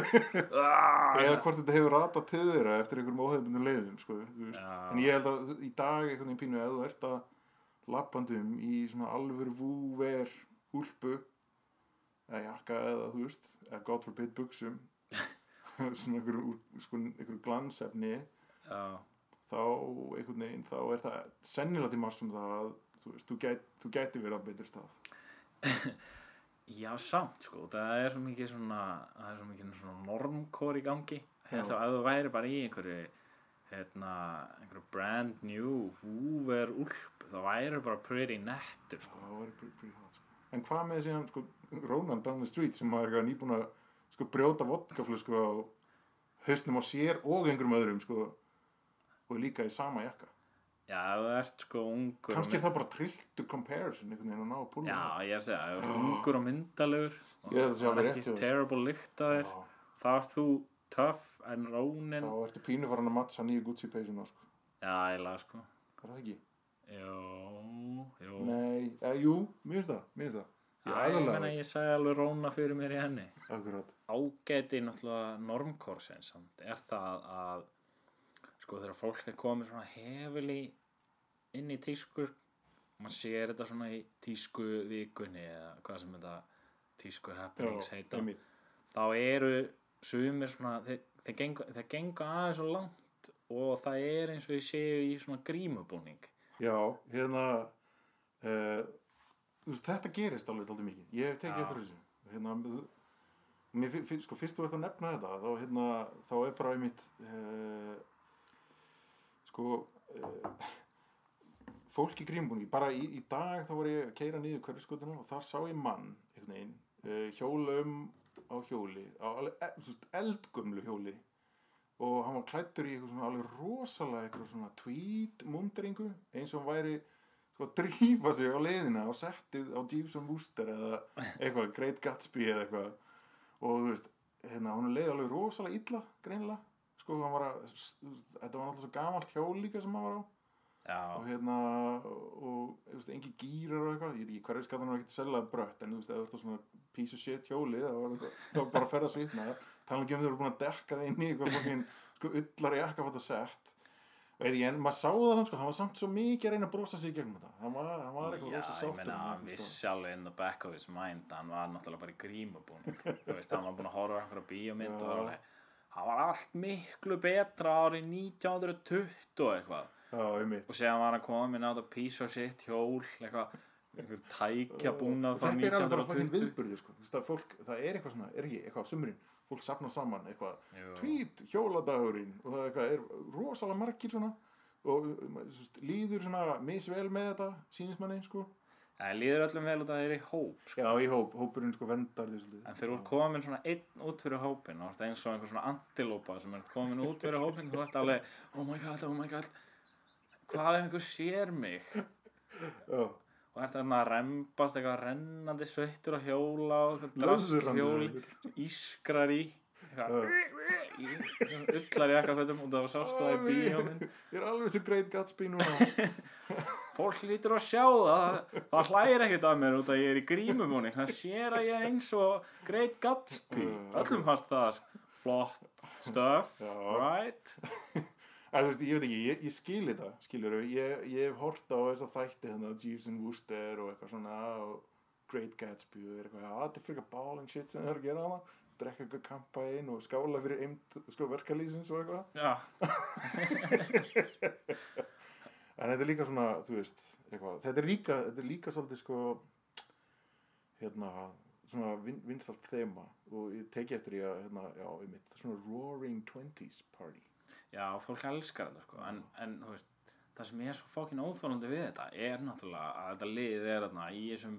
Speaker 2: ah,
Speaker 1: eða hvort þetta hefur ratað til þeirra eftir einhverjum óhefnum leiðum sko, þú veist.
Speaker 2: Já.
Speaker 1: en ég held að þú- í dag einhvern veginn pínu að þú ert að lappandum í svona alvöru vúver úlpu eða jakka eða þú veist eða god forbid buksum [LAUGHS] svona einhverju sko, einhverju glansefni
Speaker 2: já,
Speaker 1: þá einhvern veginn þá er það sennilega til margt um það að þú veist, þú, gæt, þú gæti verið á betri stað
Speaker 2: já, samt sko það er svo mikið svona það er svo mikið svona normkór í gangi
Speaker 1: Já.
Speaker 2: Held að ef þú væri bara í einhverju hérna, einhverju brand new húver úlp, þá væri bara pretty nettur sko.
Speaker 1: það var pretty, pretty hot sko. en hvað með síðan sko, Ronan down the street sem var eitthvað nýbúin að sko, brjóta vodkaflösku á hausnum á sér og einhverjum öðrum sko, og líka í sama jakka
Speaker 2: já, ef þú ert sko ungur og
Speaker 1: kannski er það bara trilltu comparison einhvern veginn að ná að púla
Speaker 2: Já, ég er að segja, ef þú ert ungur og myndalegur
Speaker 1: Ég
Speaker 2: og
Speaker 1: held að það sé alveg rétt hjá
Speaker 2: ekki
Speaker 1: þér.
Speaker 2: terrible lykt að þér
Speaker 1: Já.
Speaker 2: þá ert þú töff en rónin
Speaker 1: þá ertu pínu farin að mattsa nýju Gucci peysuna sko.
Speaker 2: Já, ég laga sko
Speaker 1: var það ekki?
Speaker 2: Jó, jó
Speaker 1: nei, eða jú, mér finnst það mér finnst það
Speaker 2: Já, ég meina ég sagði alveg róna fyrir mér í henni
Speaker 1: akkurat
Speaker 2: Ágæti náttúrulega normkorsin samt er það að sko þegar fólk er komið svona hefili inn í tísku mann sér þetta svona í tísku vikunni eða hvað sem þetta tísku happenings heita
Speaker 1: einmitt.
Speaker 2: þá eru sumir svona þeir, þeir, gengu, þeir gengu aðeins og langt og það er eins og ég séu í svona grímubúning
Speaker 1: já, hérna uh, veist, þetta gerist alveg alltaf mikið, ég hef tekið
Speaker 2: Já.
Speaker 1: eftir þessu hérna þú- mér, fi- fi- sko, fyrst þú ert að nefna þetta þá, hérna, þá er bara einmitt uh, sko uh, fólk í grímbúningi bara í, í dag þá var ég að keira niður hverfiskotinu og þar sá ég mann einhvern veginn, uh, hjólum á hjóli á alveg, e, þú veist, eldgumlu hjóli og hann var klættur í eitthvað svona alveg rosalega eitthvað svona tweed mundringu eins og hann væri sko að drífa sig á leiðina á settið á Jeepson Wooster eða eitthvað Great Gatsby eða eitthvað og þú veist, hérna hann leiði alveg rosalega illa greinilega sko hann var að, þetta var náttúrulega svo gamalt hjól líka sem hann var á
Speaker 2: Já,
Speaker 1: og hérna og þú veist, engi gýrar og eitthvað ég veit ekki hverju skattan var ekkert seljaði brött en þú veist, ef þú ert á svona piece of shit hjóli þá var þetta- þá var bara að ferða svitna tala ekki um þau eru búin að dekka það inn í eitthvað fokkin sko ullar jakka fætt að sett veit ég, en maður sá það samt sko hann var samt svo mikið að reyna að brosa sig í gegnum þetta hann var, hann var eitthvað
Speaker 2: Já,
Speaker 1: rosa
Speaker 2: ég
Speaker 1: sáttur
Speaker 2: meina,
Speaker 1: með
Speaker 2: hann
Speaker 1: þetta, sko.
Speaker 2: vissi alveg in the back of his mind að hann var náttúrulega bara í
Speaker 1: [LAUGHS]
Speaker 2: grímubúning þú veist, hann var búin að horfa á einhverja bíómynd og var alveg hann var allt miklu betra árið 1920 og eitthvað
Speaker 1: já, einmitt
Speaker 2: og séðan var hann komin á þetta piece of shit hjól, eitthvað einhver tækja búnað frá
Speaker 1: þetta er alveg bara fokkin
Speaker 2: 1920
Speaker 1: viðburður sko. Þú veist, að fólk, það er eitthvað svona, er ekki eitthvað á sumrin fólk safna saman eitthvað
Speaker 2: Jú.
Speaker 1: tvít hjóladagurinn og það er eitthvað er rosalega margir svona og um, þú veist, líður svona misvel með þetta sínismanni sko.
Speaker 2: Það líður öllum vel og það er í hóp sko.
Speaker 1: já í hóp, hópurinn sko vendar því svolítið.
Speaker 2: en þegar þú ert komin svona einn út fyrir hópin og ert eins og einhver svona antilópa sem ert komin út fyrir hópin þú ert alveg, oh my god, oh my god hvað ef einhver sér mig
Speaker 1: Já.
Speaker 2: og ert þarna að rembast eitthvað rennandi sveittur og hjóla og eitthvað
Speaker 1: Löðrandi
Speaker 2: drasthjóli ískrar í eitthvað í- ullar í eitthvað fötum og það var sást það í bíómynd
Speaker 1: ég er alveg svo great Gatsby núna
Speaker 2: fólk lítur að sjá það það hlægir ekkert að mér út að ég er í grímumóni það sér að ég er eins og Great Gatsby öllum fannst það flott stuff,
Speaker 1: Já.
Speaker 2: right
Speaker 1: Að, þú veist, ég veit ekki, ég, ég skil þetta, skilur ég, ég hef hort á þess að þætti þannig að Jeeves and Wooster og eitthvað svona og Great Gatsby og er eitthvað að þetta er fyrir báling shit sem það er að gera hana drekka eitthvað kampa inn og skála fyrir eimt sko verkalýsins og eitthvað
Speaker 2: já,
Speaker 1: en þetta er líka svona, þú veist eitthvað, þetta er líka, þetta er líka svolítið sko hérna svona vin, vinsalt þema og ég teki eftir ég að, hérna, já, ég mitt svona Roaring Twenties Party
Speaker 2: já fólk elskar þetta sko. en, en þú veist, það sem ég er svo fókin óþólandi við þetta er náttúrulega að þetta lið er þarna í þessum,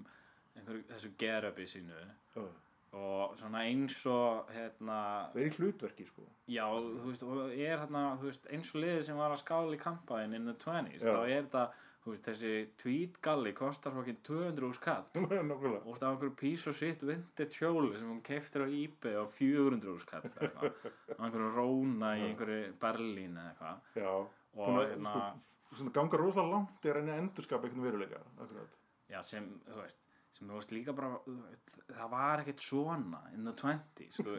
Speaker 2: einhver, þessu gerupi sínu
Speaker 1: uh,
Speaker 2: og svona eins og hérna,
Speaker 1: verið hlutverki sko [LAUGHS]
Speaker 2: Já, þú veist, og er hérna, þú veist, eins og liðið sem var að skála í kampaðin in the 20s,
Speaker 1: Já.
Speaker 2: þá er þetta þú veist, þessi tweetgalli kostar fokkin 200 skall
Speaker 1: Nákvæmlega.
Speaker 2: og það var einhverju pís og sitt vintage hjóli sem hún keiftir á eBay á 400 skall eða eitthvað. og einhverju róna í einhverju Berlín eða eitthvað
Speaker 1: Já.
Speaker 2: Og
Speaker 1: Búin að,
Speaker 2: hérna-
Speaker 1: sko, svona ganga rosalega langt er henni að endurskapa einhvern veruleika. Akkurat.
Speaker 2: já, sem, þú veist sem þú veist líka bara, þú veist, það var ekkert svona in the 20s þú,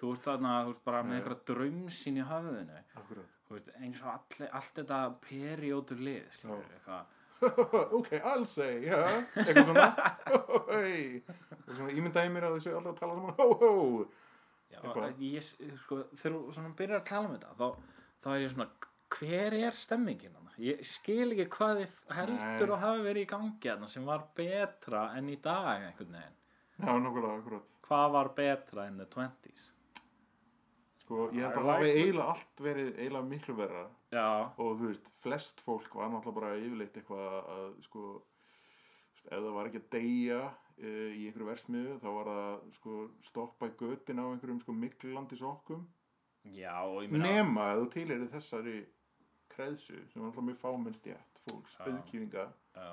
Speaker 2: þú veist þarna, þú veist bara með einhverja draumsýn í höfðinu
Speaker 1: Akkurat. [LAUGHS]
Speaker 2: þú veist, eins og all, allt þetta periódu lið, skilur
Speaker 1: Já.
Speaker 2: eitthvað
Speaker 1: ok, I'll say, já. Eitthvað svona. [LAUGHS] Hei. Og svona ímyndaði mér að þessu alltaf að tala saman. Hó, hó.
Speaker 2: Já,
Speaker 1: Eitthvað.
Speaker 2: og ég, sko, þegar þú svona byrjar að tala um þetta þá, þá er ég svona hver er stemmingin hann? Ég skil ekki hvað þið heldur
Speaker 1: Nei.
Speaker 2: og hafi verið í gangi hann sem var betra enn í dag einhvern veginn.
Speaker 1: Já, nákvæmlega, akkurat.
Speaker 2: Hvað var betra enn the 20s?
Speaker 1: Sko, ég held
Speaker 2: I
Speaker 1: að hafi
Speaker 2: like-
Speaker 1: eiginlega allt verið eiginlega miklu verra.
Speaker 2: Já,
Speaker 1: og þú veist, flest fólk var náttúrulega bara yfirleitt eitthvað að sko, þú veist, ef það var ekki að deyja uh, í einhverju versmiðu þá var það sko stoppa í götin á einhverjum sko miklandi sokkum
Speaker 2: já, og ég meina
Speaker 1: nema að þú tilherir þessari kreðsu sem var náttúrulega mjög fámenn stjætt fólks,
Speaker 2: Já.
Speaker 1: auðkýfinga
Speaker 2: já,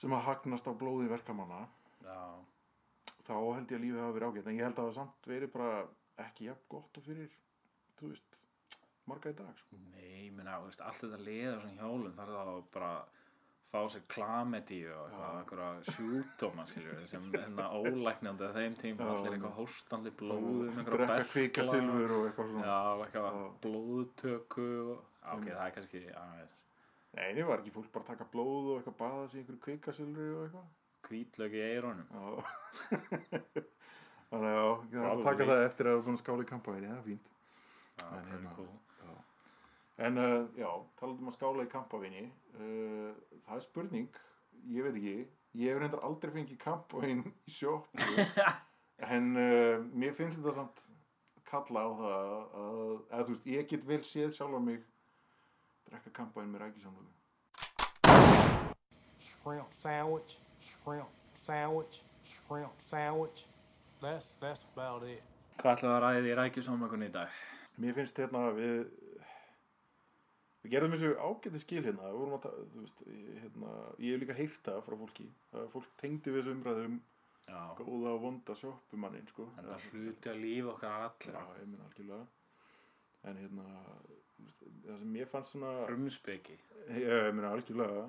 Speaker 1: sem að hagnast á blóði verkamanna
Speaker 2: já,
Speaker 1: þá held ég að lífið hafa verið ágætt en ég held að það hafi samt verið bara ekki jafn gott og fyrir, þú veist marga í dag sko.
Speaker 2: nei, ég meina, þú veist, allt þetta liða svona hjólum þarf það að bara fá sér klamedi og eitthvað, einhverja sjúkdóma skilur við, sem hérna ólæknandi að þeim tíma,
Speaker 1: Já,
Speaker 2: allir eitthvað hóstandi blóðum, einhverja
Speaker 1: drekka kvika silfur og eitthvað svona
Speaker 2: Já, eitthvað
Speaker 1: Já.
Speaker 2: blóðtöku og- Já, ok, það er kannski aðeins
Speaker 1: Nei, það var ekki fólk bara að taka blóð og eitthvað baða sig í einhverju kvikasölri og eitthvað.
Speaker 2: Hvítlög í eirónum
Speaker 1: Já. [LAUGHS] Þannig að já, ég þarf að
Speaker 2: Probably.
Speaker 1: taka það eftir að hafa búin að skála í kampavíni, það er fínt.
Speaker 2: Já,
Speaker 1: En
Speaker 2: það er
Speaker 1: hérna-
Speaker 2: cool.
Speaker 1: En uh, já, talað um að skála í kampavíni, uh, það er spurning, ég veit ekki, ég hef reyndar aldrei fengið kampavín í sjoppu, [LAUGHS] en uh, mér finnst þetta samt kalla á það að, að þú veist, ég get vel séð sjálf á mig drekka kampavín með rækisamlögu.
Speaker 5: shrimp sandwich, shrimp sandwich, shrimp sandwich. That's that's about it.
Speaker 2: Hvað ætlaðu að ræði í rækjusámakunni í dag?
Speaker 1: Mér finnst hérna að við við gerðum þessu ágæti skil hérna við vorum að, ta- þú veist, ég- hérna, ég hef líka heyrt það frá fólki að fólk tengdi við þessu umræðum
Speaker 2: Já,
Speaker 1: góða og vonda sjoppumannin sko.
Speaker 2: en það
Speaker 1: Eða-
Speaker 2: hluti að lífa okkar
Speaker 1: Já,
Speaker 2: allir
Speaker 1: ég minna algjörlega en hérna þú veist, það sem ég fannst svona
Speaker 2: Frumspeki
Speaker 1: Já, ég meina algjörlega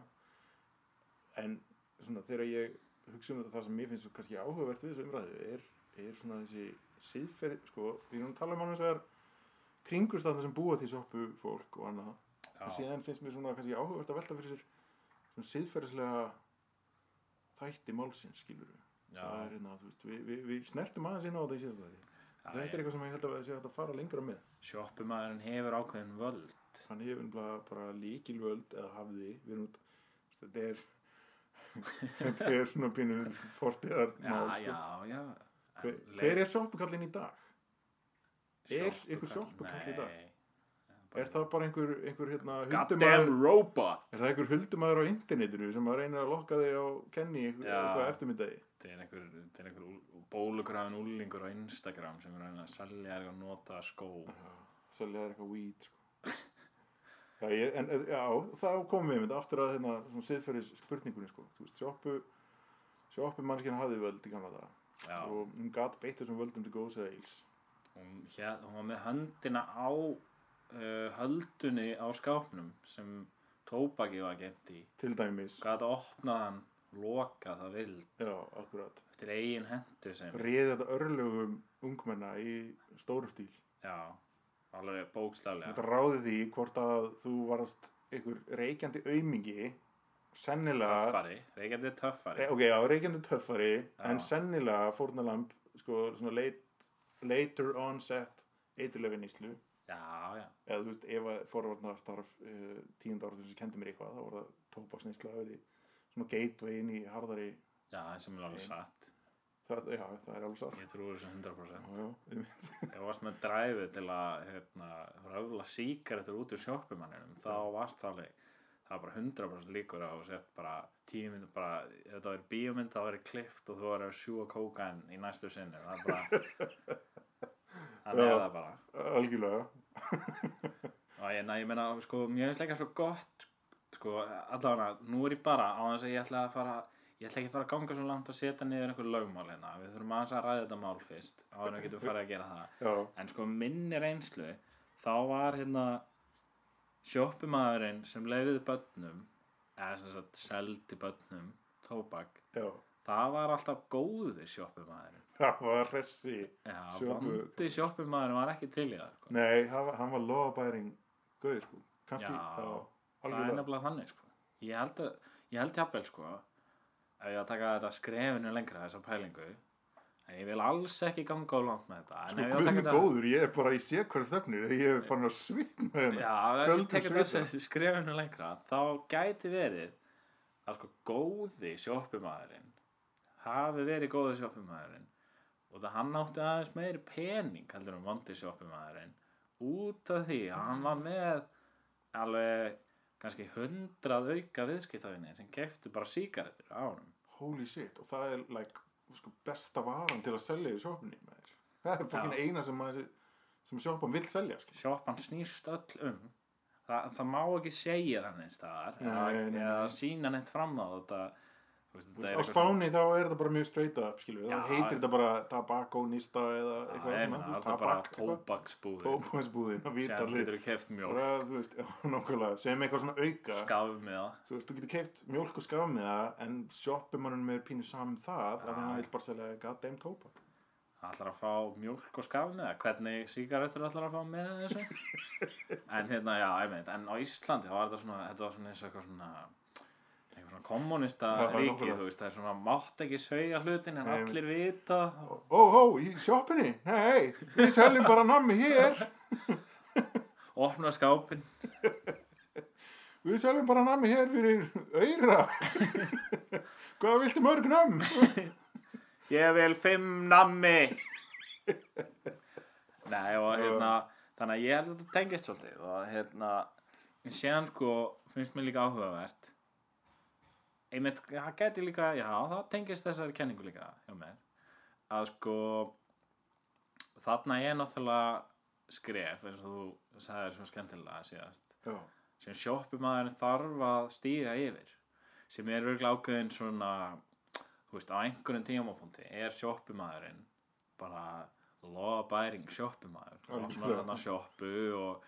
Speaker 1: en svona þegar ég hugsa um þetta það sem mér finnst kannski áhugavert við þessu umræðu er, er svona þessi síðferð, sko, við erum að tala um hann þessar kringurstanda sem búa til soppu fólk og annað
Speaker 2: Já.
Speaker 1: en síðan finnst mér svona kannski áhugavert að velta fyrir sér svona síðferðislega þætti málsins skilur við
Speaker 2: Já.
Speaker 1: það er hérna, þú veist, við, við, við snertum aðeins inn á þetta í síðasta þætti þetta
Speaker 2: ég-
Speaker 1: er eitthvað sem ég held að við sé hægt að fara lengra með
Speaker 2: Sjoppumæðurinn hefur ákveðin völd
Speaker 1: hann hefur bara, bara líkilvöld eða hafði við erum, þetta er þetta er svona pínu fortiðar
Speaker 2: Já, já, já
Speaker 1: sko. hver, hver er sjoppukallin í dag? er ykkur sjoppukall í dag? er það bara einhver, einhver hérna,
Speaker 2: Goddamn
Speaker 1: huldumæður
Speaker 2: robot
Speaker 1: er það einhver huldumæður á internetinu sem að reyna að lokka þig á kenni
Speaker 2: Já.
Speaker 1: eitthvað eftirmiddagi
Speaker 2: Það er einhver, þetta er einhver úl- bólugrafin úlingur á Instagram sem er að reyna að selja og nota skó
Speaker 1: selja þér eitthvað weed
Speaker 2: [LAUGHS]
Speaker 1: sko. já, ég, en, eh, já, þá komum við með aftur að hérna, svona siðferðis spurningunni sko. þú veist, sjoppu sjoppu mannskinn hafði völd í gamla daga
Speaker 2: Já,
Speaker 1: og hún gat beitt þessum völdum til góðs eða íls
Speaker 2: hún, hér, hún var með höndina á uh, höldunni á skápnum sem tóbaki var gett í
Speaker 1: til dæmis
Speaker 2: gæti að opna hann loka það vild
Speaker 1: já, akkurat
Speaker 2: eftir eigin hendu sem
Speaker 1: réði þetta örlögum ungmenna í stórum stíl
Speaker 2: já, alveg
Speaker 1: þetta
Speaker 2: bókstaflega
Speaker 1: ráði því hvort að þú varst einhver reykjandi aumingi sennilega
Speaker 2: töffari, reykjandi töffari
Speaker 1: Re- ok, já, reykjandi töffari en sennilega fórnalamb sko, svona late, later on set eiturlefin íslu
Speaker 2: já, já,
Speaker 1: eða þú veist, ef að forvarnar starf uh, tíunda ára sem kendi mér eitthvað þá var það tópaksnýsla svona gateway inn í harðari
Speaker 2: já, sem er alveg satt
Speaker 1: það, já, það er alveg satt
Speaker 2: ég trúi þessu 100%
Speaker 1: Já, [LAUGHS] já, einmitt.
Speaker 2: ef varst með dræfi til að hérna, röfla síkaretur út úr sjoppumanninum þá varst það alveg það var bara 100% líkur að þú sett bara tíu mynd, bara, ef þetta verið bíómynd þá verið klift og þú verið að sjúa kókan í næstu sinni, það er bara
Speaker 1: Já.
Speaker 2: þannig er það bara
Speaker 1: algjörlega
Speaker 2: og ég, na, ég meina, sko, mér finnst líka svo gott sko, allavega, nú er ég bara á þess að ég ætla að fara ég ætla ekki að fara að ganga svo langt að setja niður einhver lögmál hérna, við þurfum aðeins að ræða þetta mál fyrst á hvernig getum við farið að gera það
Speaker 1: Já.
Speaker 2: en sko minni reynslu þá var hérna sjoppumæðurinn sem leiðiði börnum eða sem sagt seldi börnum tóbak,
Speaker 1: já,
Speaker 2: það var alltaf góði sjoppumæðurinn
Speaker 1: það var hressi
Speaker 2: Já,
Speaker 1: Sjoppu-
Speaker 2: vondi sjoppumæðurinn var ekki til í það sko.
Speaker 1: Nei, það var, hann var lofabæring gauð, sko, kannski
Speaker 2: Já,
Speaker 1: þá,
Speaker 2: það er
Speaker 1: algjörlega,
Speaker 2: nefnilega þannig sko. ég held að, ég held jafnvel sko ef ég á að taka þetta skrefinu lengra þessa pælingu en ég vil alls ekki ganga á langt með þetta en
Speaker 1: sko,
Speaker 2: ef ég á að
Speaker 1: guð
Speaker 2: taka
Speaker 1: minn
Speaker 2: þetta-
Speaker 1: góður ég er bara, ég sé hvað stefnir ég er farin að svitna hérna
Speaker 2: já, ef ég
Speaker 1: Köldum
Speaker 2: tekur
Speaker 1: svita.
Speaker 2: þessi skrefinu lengra þá gæti verið að sko góði sjoppumæðurinn hafi verið góði sjoppumæðurinn og það hann átti aðeins meiri pening heldur um vondi sjoppumæðurinn út af því að hann var með alveg kannski hundrað auka viðskiptafinni sem keftu bara sígarettur á honum
Speaker 1: holy shit, og það er like, sko, besta varan til að selja í sjoppunni maður. [LAUGHS] það er fokkin eina sem, maður- sem sjoppan vill selja sko.
Speaker 2: sjoppan snýst öll um Þa, það má ekki segja þannig staðar
Speaker 1: Nei, nei,
Speaker 2: eða, eða sína neitt fram á þetta þú veist, þetta er
Speaker 1: á
Speaker 2: eitthvað svona-
Speaker 1: Spáni þá er þetta bara mjög straight up skilur,
Speaker 2: Já,
Speaker 1: það heitir
Speaker 2: já.
Speaker 1: þetta bara tabakónista eða eitthvað
Speaker 2: Nei,
Speaker 1: svona,
Speaker 2: menn,
Speaker 1: þú veist,
Speaker 2: það er bara
Speaker 1: tabak, eitthvað.
Speaker 2: tóbaksbúðin
Speaker 1: tóbaksbúðin að vita
Speaker 2: sem
Speaker 1: allir
Speaker 2: getur keft mjólk,
Speaker 1: bara, þú veist, [LAUGHS] já, nákvæmlega, sem eitthvað svona auka
Speaker 2: skafmiða
Speaker 1: þú veist, þú getur keift mjólk og skaf með það en shoppumannum er pínu saman það að hann vil bara selja goddamn tópak
Speaker 2: ætlar að fá mjólk og skafmiða hvernig sígarettur ætlar að fá með þessu
Speaker 1: [LAUGHS]
Speaker 2: en hérna, já, ég meint en á Íslandi þá var þetta svona þetta var svona eins og eitthvað svona eitthvað svona kommunista
Speaker 1: Já, það er
Speaker 2: ríki,
Speaker 1: nákvæmlega.
Speaker 2: þú veist, það er svona mátt ekki sögja hlutin en
Speaker 1: Nei, ég
Speaker 2: allir vita
Speaker 1: ó, ó, í shoppinni, nei, við seljum bara nammi hér
Speaker 2: opna skápin
Speaker 1: við seljum bara nammi hér fyrir auðra [LAUGHS] hvað viltu mörg namm
Speaker 2: Ég vil fimm nammi Nei og hérna Þannig að ég held að þetta tengist svolítið og hérna en síðan sko finnst mér líka áhugavert einmitt, það gæti líka já, það tengist þessari kenningu líka hjá mér að sko þarna er náttúrulega skref eins og þú sagðir svo skemmtilega síðast
Speaker 1: já,
Speaker 2: sem sjoppumæðurinn þarf að stíga yfir sem er örgulega ákveðin svona þú veist, á einhverjum tímapunkti er sjoppumæðurinn bara law-abiding sjoppumæður og
Speaker 1: Algjörlega.
Speaker 2: svona hann að sjoppu og,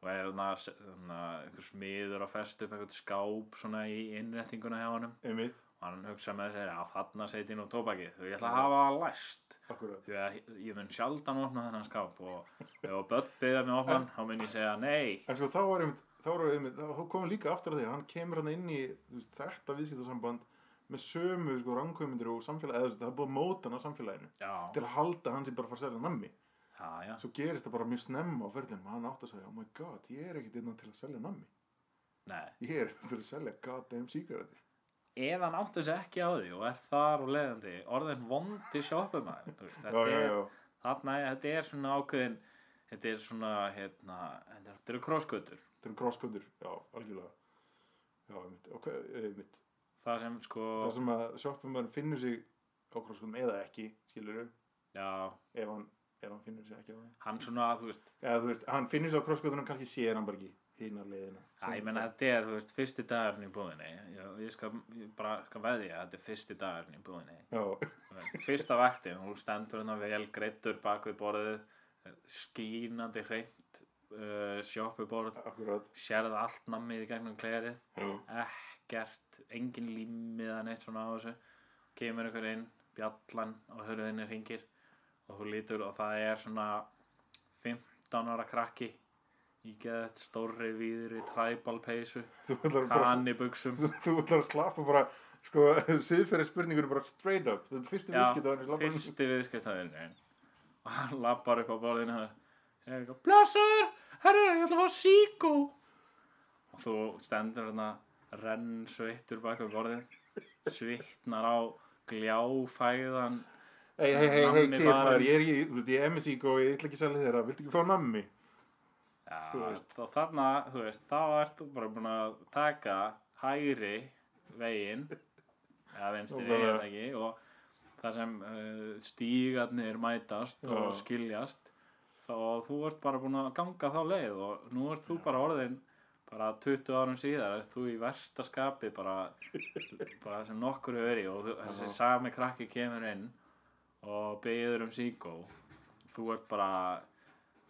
Speaker 2: og er hann að einhver smiður að festa upp eitthvað skáp svona í innrettinguna hjá honum
Speaker 1: einmitt,
Speaker 2: og hann hugsa með sér að þarna seti nú tóbakið þú ég ætla að hafa það læst
Speaker 1: akkurat
Speaker 2: því að ég mun sjaldan opna þennan skáp og ef börn byrða mig opna hann, þá mun ég segja nei
Speaker 1: en sko þá var einmitt, þá, var einmitt, þá komum líka aftur að því að hann kemur hann inn í þú veist, þetta viðskiptasamband með sömu sko rangkvæmyndir og samfélagi eða þú veist, það er búið að móta hann á samfélaginu
Speaker 2: Já.
Speaker 1: til að halda hann sem bara að fara að selja nammi
Speaker 2: já, já.
Speaker 1: svo gerist það bara mjög snemma á ferðinum hann átt að segja, oh my god, ég er ekkert innan til að selja nammi
Speaker 2: nei
Speaker 1: ég er innan til að selja goddamn sígarættir
Speaker 2: ef hann átti sig ekki á því og er þar og leiðandi orðin vondi sjoppumæður þú veist, þetta,
Speaker 1: já,
Speaker 2: er-
Speaker 1: já.
Speaker 2: þarna, þetta er svona ákveðin þetta er svona hérna, þetta er- þetta eru krossgötur
Speaker 1: þetta eru crosscutter, já, algjörlega já, einmitt, ok, einmitt
Speaker 2: það sem sko
Speaker 1: það sem að shoppumar finnur sig á crosscuttum eða ekki, skilur
Speaker 2: já,
Speaker 1: ef hann, ef hann finnur sig ekki á það
Speaker 2: hann svona þú veist,
Speaker 1: eða þú veist, hann finnur sig á crosscuttunum kannski sér hann bara ekki hinn af leiðina
Speaker 2: að, ég meina þetta er þú veist, fyrsti dagurinn í búðinni ég, ég skal ég bara skal veðja að þetta er fyrsti dagurinn í búðinni
Speaker 1: já,
Speaker 2: Þú veist, fyrsta vaktin, hún stendur hérna vel greittur bak við borðið skínandi hreint uh, sjoppuborð
Speaker 1: akkurat
Speaker 2: sérð allt nammið í gegnum klerið ekkert, engin límiða neitt svona á þessu kemur ykkur inn, bjallan og hörðinni ringir og hún lítur og það er svona 15 ára krakki í geðet stórri víðri træbal peysu
Speaker 1: þú ætlar bara
Speaker 2: kanni buksum
Speaker 1: þú ætlar að slappa bara sko, [LAUGHS] siðferði spurningunum bara straight up þetta er fyrstu
Speaker 2: Já,
Speaker 1: viðskipt á hann
Speaker 2: fyrsti viðskiptaðurinn og hann lappar upp á borðinu og er eitthvað, blessaður, herru, ég ætla að fá síkó og þú stendur hérna renn sveittur bak við borðið svitnar á gljáfæðan
Speaker 1: Hei, hei, hei, hei,
Speaker 2: Nammi
Speaker 1: kýr
Speaker 2: var-
Speaker 1: maður, ég er í, þú veist, ég er MSík og ég ætla ekki að selja þér það, viltu ekki fá nammi?
Speaker 2: Já,
Speaker 1: Þú veist.
Speaker 2: og þarna, þú veist, þá ert þú bara búin að taka hægri veginn, eða vinstri
Speaker 1: Nákvæmlega.
Speaker 2: veginn ekki, og það sem uh, stígarnir mætast og
Speaker 1: Já.
Speaker 2: skiljast, þá þú ert bara búin að ganga þá leið og nú ert þú bara orðin bara 20 árum síðar er þú í versta skapi bara, bara sem nokkur hefur verið og þú- þessi sami krakki kemur inn og beður um síkó þú ert bara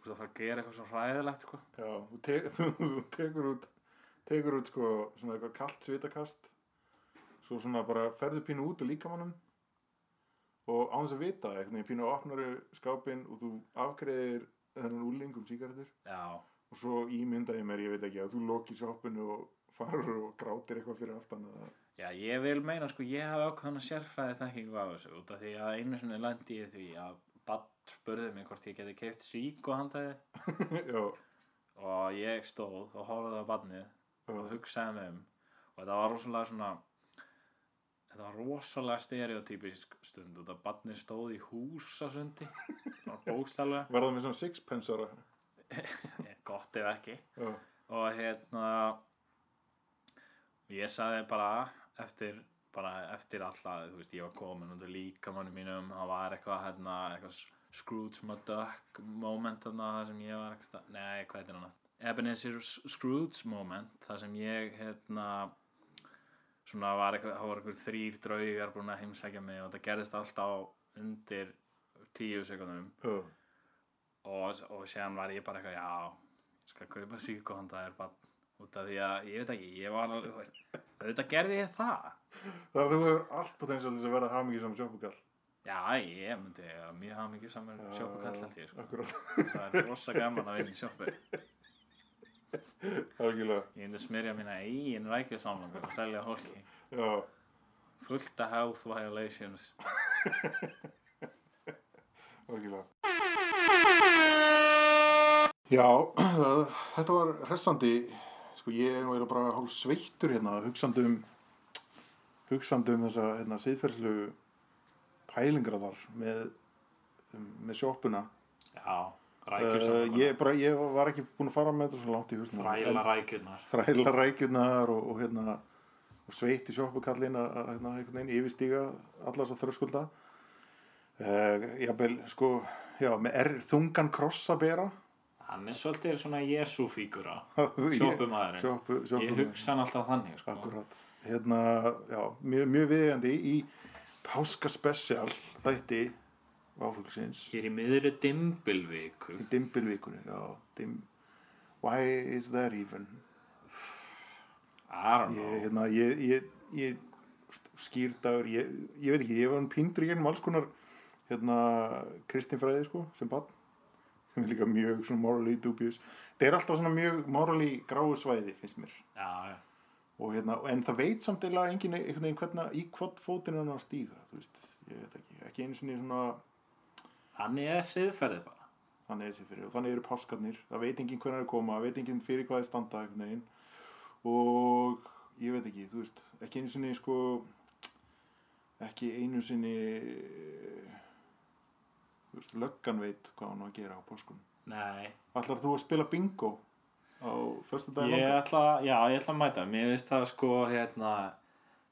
Speaker 2: þú ert að fara að gera eitthvað svo hræðilegt sko.
Speaker 1: Já, þú, te [LAUGHS] þú, þú tekur út tekur út sko svona eitthvað kalt svitakast svo svona bara ferðu pínu út úr líkamannum og án þess að vita það, einhvern veginn pínu opnaru skápinn og þú afgreðir þennan úlingum sígarettur
Speaker 2: já,
Speaker 1: og svo ímynda ég mér, ég veit ekki að þú lokir sjoppinu og farur og grátir eitthvað fyrir aftan eða [LAUGHS]
Speaker 2: já, ég vil meina sko ég hafi ákveðan að sérfræði þekkingu af þessu út af því að einu sinni landi ég í því að Batt spurði mig hvort ég geti keift síkó handaði
Speaker 1: já,
Speaker 2: og ég stóð og horfði á barnið og hugsaði mig um og þetta var rosalega svona þetta var rosalega stereotypisk stund og þetta barnið stóð í húsasundi bara bókstælega
Speaker 1: verða með svona sixpensara
Speaker 2: gott ef ekki
Speaker 1: já,
Speaker 2: og hérna ég sagði bara eftir bara eftir alltaf, þú veist, ég var komin undir líkamannu mínum, það var eitthvað hérna, eitthvað Scrooge McDuck moment þarna, það sem ég var eitthvað, nei, hvað heitir hann aftur? Ebenezer Scrooge moment, það sem ég hérna svona var eitthvað, það voru eitthvað þrýr draugar búin að heimsækja mig og þetta gerðist alltaf undir tíu sekundum
Speaker 1: já,
Speaker 2: og, og séðan var ég bara eitthvað já, ég skal kaupa síku hann það er bara út af því að ég veit ekki, ég var alveg þú veist, auðvitað gerði ég það
Speaker 1: það að þú hefur allt potensiál til þess að verða hamingi saman sjoppukall
Speaker 2: já, ég myndi vera mjög hafa mikið saman sjópa kall held ég sko.
Speaker 1: akkurat,
Speaker 2: það er rosa gaman að vinna í sjópu ég
Speaker 1: algjörlega
Speaker 2: myndi smyrja mína eigin rækju saman og selja hólki
Speaker 1: já,
Speaker 2: fullt af health violations
Speaker 1: algjörlega Já, [CLEARS THROAT] þetta var hressandi sko ég er nú eiginlega bara hálf sveittur hérna hugsandi um hugsandi um þessa hérna, siðferðslu pælingra þar með, með sjoppuna
Speaker 2: já, rækju
Speaker 1: uh,
Speaker 2: saman
Speaker 1: ég, bara, ég var ekki búin að fara með þetta svo langt í húsna
Speaker 2: þræla rækjurnar
Speaker 1: þræla rækjurnar og, og hérna og sveitt í sjoppukallin að að, hérna, einhvern veginn yfirstíga alla svo þröskulda uh, jafnvel sko já, með er þungan kross að bera
Speaker 2: hann er svolítið svona jesúfígura
Speaker 1: [LAUGHS] Ég-
Speaker 2: sjópumaðurinn
Speaker 1: sjoppu-
Speaker 2: ég
Speaker 1: sjoppumaðurinn.
Speaker 2: hugsa hann alltaf þannig sko.
Speaker 1: akkurat hérna, já, mjög, mjög viðjandi í páskaspecial þætti áfuglsins
Speaker 2: Hér í miðri dimbilviku
Speaker 1: í dimbilvikunni já, dim, why is that even
Speaker 2: I don't know
Speaker 1: ég, hérna, ég, ég, ég skýrdagur, ég, ég veit ekki ég var hann píndur í gegnum alls konar hérna, kristinfræði sko, sem bann sem er líka mjög svona morally dubious það er alltaf svona mjög morally gráu svæði finnst mér
Speaker 2: Já, já.
Speaker 1: og hérna, en það veit samt eiginlega engin einhvern veginn hvernig í hvað fótinn hann á að stíga þú veist, ég veit ekki, ekki einu sinni svona
Speaker 2: Hann er siðferðið bara
Speaker 1: þannig er þessi fyrir og þannig eru páskarnir það veit enginn hvernig er koma, veit enginn fyrir hvað er standa einhvern veginn og ég veit ekki, þú veist ekki einu sinni sko ekki einu sinni þú veist, löggan veit hvað hann á að gera á páskunum
Speaker 2: Nei
Speaker 1: Ætlar þú að spila bingo á förstu dag
Speaker 2: Ég ætla, já, ég ætla að mæta Mér finnst það sko, hérna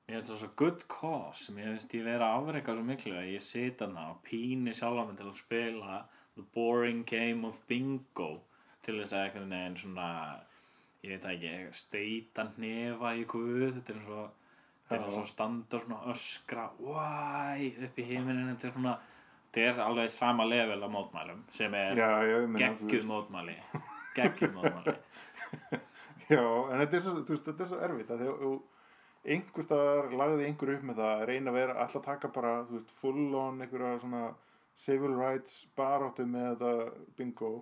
Speaker 2: Mér finnst það svo good cause Mér finnst ég vera að afreika svo miklu að ég sit hana og píni sjálfa mig til að spila the boring game of bingo til þess að einhvern veginn svona ég veit það ekki, steita nefa í guð, þetta er eins og þetta er eins og standa og svona öskra why, upp í heiminin þetta er svona, þetta er alveg sama level á mótmælum sem er
Speaker 1: Já, já, ég meina, þú
Speaker 2: geggjuð
Speaker 1: veist.
Speaker 2: mótmæli geggjuð
Speaker 1: [LAUGHS]
Speaker 2: mótmæli
Speaker 1: Já, en þetta er svo, þú veist, þetta er svo erfitt að þegar þú- einhvers staðar lagði einhver upp með það að reyna að vera alltaf taka bara, þú veist, full on einhverja svona civil rights baráttu með þetta bingo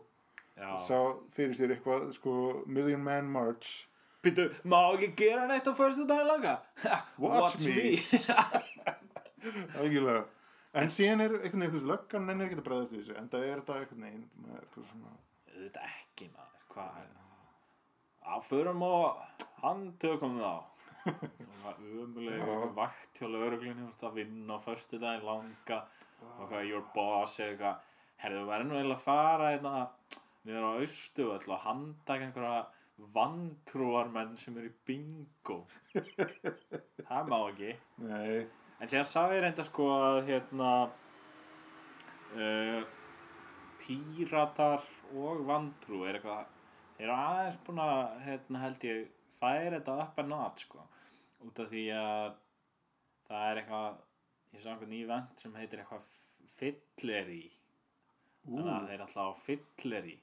Speaker 2: Já.
Speaker 1: sá fyrir sér eitthvað, sko, Million Man March
Speaker 2: Býtu, má ekki gera neitt á förstu daginn langa?
Speaker 1: Watch me. algjörlega en síðan er einhvern veginn, þú veist, löggan nennir ekki að bregðast við þessu en það er þetta einhvern veginn með eitthvað svona
Speaker 2: Þetta ekki maður, hvað er það? Að förum og handtökum þá. Svona umulega vakt hjá lögreglunni, þú ert að vinna á förstu daginn langa. Og hvað, your boss er eitthvað, herðu, þú verður nú eiginlega að fara hérna niður á austu og ætla að handtaka einhverja vantrúarmenn sem eru í bingo. það má ekki.
Speaker 1: Nei,
Speaker 2: En síðan sá ég reynda sko að hérna uh, píratar og vandrú er eitthvað Þeir eru aðeins búin að, hérna, held ég, færa þetta upp að nátt, sko. Út af því að það er eitthvað, ég sá einhvern ívent sem heitir eitthvað fylleri. Þannig að þeir eru alltaf á fylleri.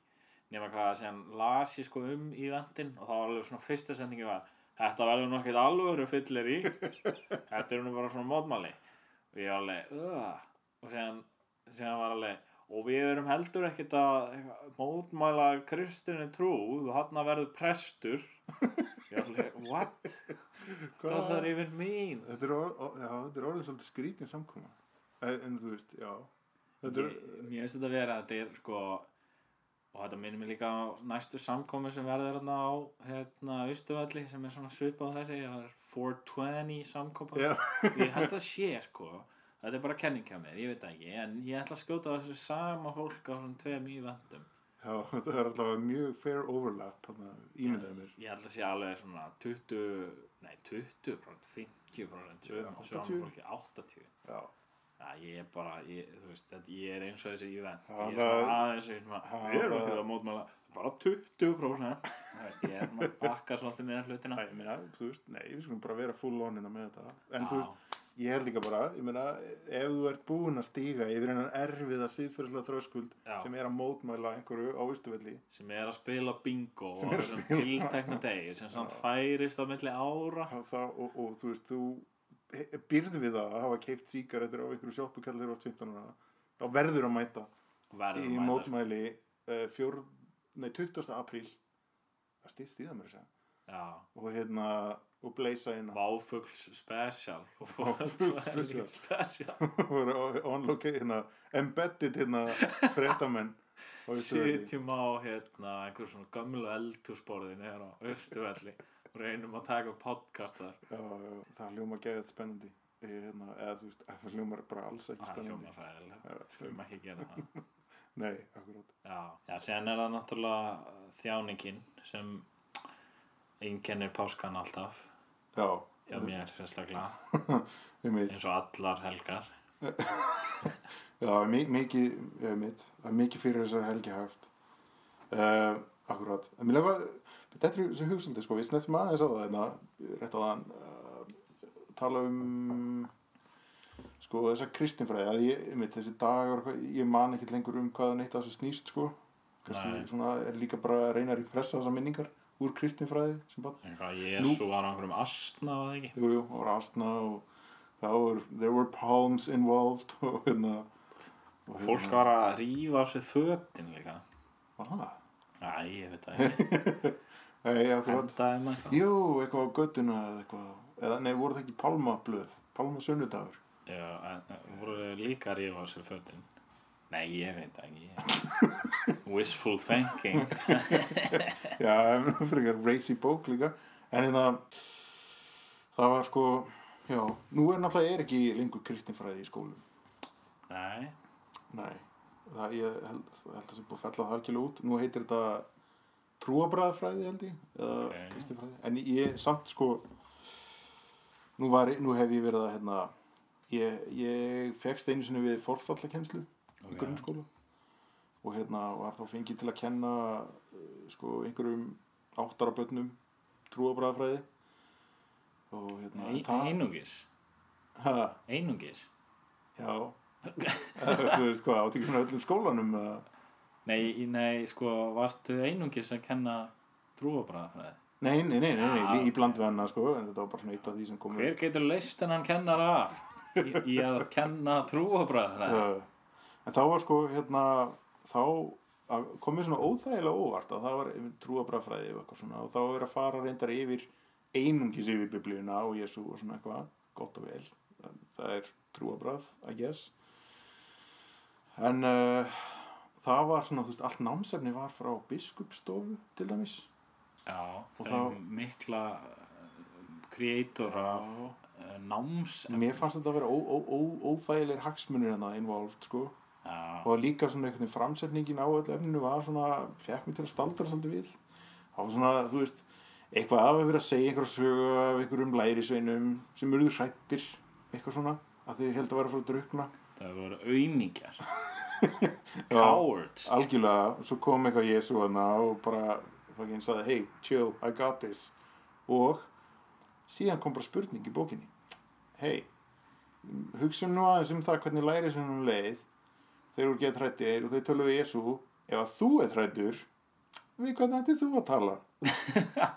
Speaker 2: Nefna hvað að segja, las ég sko um íventin og það var alveg svona fyrsta sendingi var Þetta verður nú ekkert alvöru fylleri. þetta eru nú bara svona mótmæli. Og ég var alveg, öða. Og séðan, séðan var alveg, og við erum heldur ekkert að mótmæla kristinu trú og hann að verður prestur. [LAUGHS] Ég var alveg, what?
Speaker 1: Hvað-
Speaker 2: Það er yfir mín.
Speaker 1: Þetta er, orð, ó- já, þetta er orðið svolítið skrítin samkoma en, en þú veist, já Þetta er,
Speaker 2: Ég, mér finnst þetta að vera að þetta er sko og þetta minnir mig líka á næstu samkomi sem verður hérna á hérna Ístuvalli sem er svona svipað á þessi það er 420 samkoma
Speaker 1: já,
Speaker 2: ég held að sé sko þetta er bara kenning hjá mér, ég veit það ekki en ég ætla að skjóta á þessu sama fólk á svona tveim í vandum
Speaker 1: já, [LAUGHS] það er allavega mjög fair overlap, þarna, ímyndaði mér
Speaker 2: ég held að sé alveg svona 20, nei 20 50%
Speaker 1: Já,
Speaker 2: sögum á
Speaker 1: 80.
Speaker 2: sögum fólki 80
Speaker 1: Já,
Speaker 2: Já, ég er bara, ég, þú veist, þetta, ég er eins og þessi event,
Speaker 1: Já,
Speaker 2: ég er
Speaker 1: það-
Speaker 2: svona aðeins og ég er svona,
Speaker 1: Já,
Speaker 2: við erum
Speaker 1: það-
Speaker 2: ekki að mótmæla, bara 20% þú veist, ég er svona að bakka svolítið með hlutina.
Speaker 1: Æ, ég meina, þú veist, nei, við skulum bara vera full onina með þetta En
Speaker 2: Já.
Speaker 1: þú veist, ég held líka bara, ég meina, ef þú ert búin að stíga yfir hennan erfiða síðfyrslega þröskuld
Speaker 2: Já.
Speaker 1: sem er að mótmæla einhverju á Ístuvelli
Speaker 2: Sem er að spila bingo
Speaker 1: Sem
Speaker 2: á
Speaker 1: er að
Speaker 2: þessum
Speaker 1: spila.
Speaker 2: tiltekna degi, sem samt færist á milli ára.
Speaker 1: og, og, og þú veist, þú byrðu við það að hafa keift sígarettur á einhverju sjoppu kallar þeirra á 15 ára þá verður að mæta í
Speaker 2: Verður að mæta, sko.
Speaker 1: mótmæli uh, fjór, nei, 20. apríl það stýst í það mér að segja
Speaker 2: Já,
Speaker 1: og hérna, og bleysa inn á-
Speaker 2: Váfugls
Speaker 1: [LAUGHS]
Speaker 2: Special.
Speaker 1: Váfugls Special.
Speaker 2: Special.
Speaker 1: og [LAUGHS] voru á- on location, hérna, embedded hérna, frettamenn á Austurvelli.
Speaker 2: Sitjum á, hérna, einhver svona gömlu eldhúsborði neður á Östuvelli og reynum að taka upp podcast þar.
Speaker 1: Já, já, það hljóma geðið spennandi Eh, hérna, eða þú veist, [LAUGHS] það hljómar bara alls ekki
Speaker 2: Það
Speaker 1: spennandi
Speaker 2: hljóma hræðilega, hljóma ekki að gera það.
Speaker 1: nei, akkurát
Speaker 2: Já, já, síðan er það náttúrulega uh, þjáningin sem einkennir páskan alltaf
Speaker 1: já,
Speaker 2: hjá mér sérstaklega,
Speaker 1: ég meit
Speaker 2: eins og allar helgar
Speaker 1: Já, mi- mikið, ég veit, það er mikið fyrir þessar helgi haft. Uh, akkurat. En mér lefa, þetta er þessi hugsundi, sko, við snettum aðeins á það hérna, rétt á þann, uh, tala um, sko, þessa kristinfræði, að ég, ég veit, þessi dagar, og eitthvað, ég man ekki lengur um hvað neitt að þessu snýst, sko.
Speaker 2: Nei.
Speaker 1: Kannski svona er líka bara að reyna að repressa þessar minningar úr kristinfræði, sem bara,
Speaker 2: eitthvað Jésu var á einhverjum astna var það ekki
Speaker 1: jú, jú, og rastna og það voru, there were palms involved og hérna, og
Speaker 2: og fólk var að rífa á sig fötin líka
Speaker 1: Var það?
Speaker 2: Æ, ég veit það ekki,
Speaker 1: [LAUGHS] Nei, akkurat.
Speaker 2: hendaði maður eitthvað
Speaker 1: Jú, eitthvað á göttuna eða eitthvað. Eða nei, voru það ekki pálmablöð, pálmasunnudagur.
Speaker 2: Já, en en voru þau líka að rífa á sig fötin Nei, ég veit það ekki
Speaker 1: [LAUGHS]
Speaker 2: Wishful thinking
Speaker 1: Já, en [LAUGHS] frekar racy bók líka. En hérna, það var sko, já, nú er náttúrulega er ekki lengur kristinfræði í skólum.
Speaker 2: Nei,
Speaker 1: Nei, það, ég held, held að það sé búið að fella það algjörlega út. Nú heitir þetta trúabræðfræði held ég, eða
Speaker 2: Ok.
Speaker 1: kristinfræði. En ég samt sko, nú, var, nú hef ég verið að, hérna, ég, ég fegst einu sinni við forfallakenslu í grunnskóla og hérna var þá fengið til að kenna uh, sko einhverjum áttarabönnum trúabræðfræði og hérna
Speaker 2: Ein, einungis
Speaker 1: ha,
Speaker 2: Einungis
Speaker 1: já
Speaker 2: [LAUGHS]
Speaker 1: þú veist hvað, átíkum sko, öllum skólanum eða
Speaker 2: Nei, í- nei, sko, varstu einungis að kenna trúabræðafræði?
Speaker 1: Nei, nei, nei, nei, nei,
Speaker 2: Já,
Speaker 1: í bland við hana sko, en þetta var bara svona eitt af því sem kom
Speaker 2: Hver getur leist en hann kennar af í, í að kenna trúabræðafræði?
Speaker 1: uh, En þá var sko, hérna, þá að- kom mér svona óþægilega óvart að það var trúabræðfræði og eitthvað svona og þá var verið að fara reyndar yfir einungis yfir biblíuna og Jésu og svona eitthvað, gott og vel. Það- Það er trúabræð, I guess. En uh, það var svona, þú veist, allt námsefni var frá biskupstofu til dæmis.
Speaker 2: Já,
Speaker 1: Og
Speaker 2: það
Speaker 1: þá-
Speaker 2: er mikla kreator af uh, náms...
Speaker 1: Mér fannst þetta að vera ó- ó- ó- óþægilegir hagsmunir hérna involved, sko.
Speaker 2: Já,
Speaker 1: og líka svona einhvern veginn framsetningin á öll efninu var svona, fekk mér til að staldra svolítið við það var svona, þú veist eitthvað af að vera að segja einhverja sögu af einhverjum lærisveinum sem eruðu hrættir eitthvað svona, að þið held að vera að fara að drukna
Speaker 2: það voru auðmingjar.
Speaker 1: [LAUGHS]
Speaker 2: Cowards.
Speaker 1: algjörlega, og svo kom eitthvað Jésu hana og bara, fucking sagði hey, chill, I got this og síðan kom bara spurning í bókinni hey, hugsun nú aðeins um það hvernig læri sem hún leið þeir eru gett hrættir og þau tölu við Jésu ef að þú er hrættur við hvernig ættir þú að tala